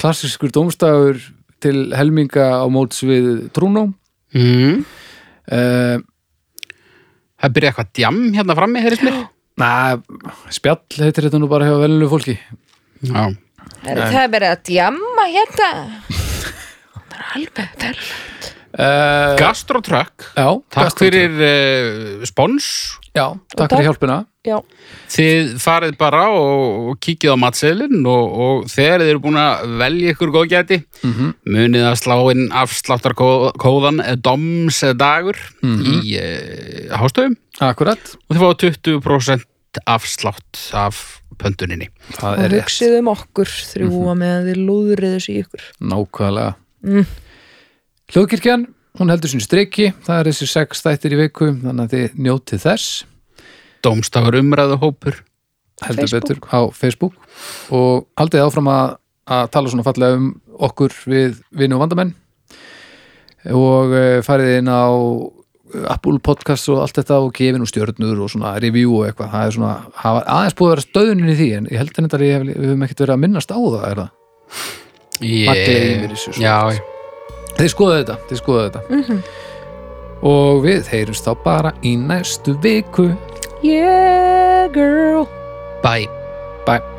A: klassiskur dómstagur til helminga á móts við trúnó
B: Mm.
A: uh,
B: Það byrja eitthvað djam hérna frammi, heyrðist mér.
A: Na, spjall heitir þetta nú bara hjá velinu fólki
B: Já.
D: Er það er verið að djamma hérna? Það er alveg vel.
A: uh,
B: Gastrotrökk.
A: Já,
B: Takk
A: gastu-
B: fyrir uh, spons.
A: Já, takk fyrir hjálpina
C: Já,
B: Þið farið bara og, og kíkið á matseðlinn og, og þegar þið eru búin að velja ykkur góðgæti munið að slá inn afsláttarkóðan domsdagur í e, hástöfum
A: Akkurat,
B: og þið fáið 20% afslátt af pöntuninni.
A: það
C: og
A: er rétt Mhm.
C: hugsið um okkur þrjúa meðan þið lúðrið þessu í ykkur
A: Nákvæmlega
C: Mm.
A: Hljóðkirkjan, hún heldur sinni streiki Það er þessi sex þættir í viku Þannig að þið njótið þess
B: Dómstafur umræðu hópur.
A: heldur
C: Facebook.
A: betur á Facebook og haldið áfram að, að tala svona fallega um okkur við vinnu og vandamenn og eh, farið inn á Apple Podcast og allt þetta og gefin og stjörnur og svona review og eitthvað það er svona, hafa aðeins búið að vera stöðunin í því en ég held en þetta að ég hef- við höfum ekkert verið að minnast á það er það,
B: Ég...
A: Maður gleymir þessu svo
B: Já,
A: oft. þið skoðu þetta, þið skoðu þetta
C: Mhm.
A: og við heyrumst þá bara í næstu viku
C: Yeah girl
B: bye.
A: bye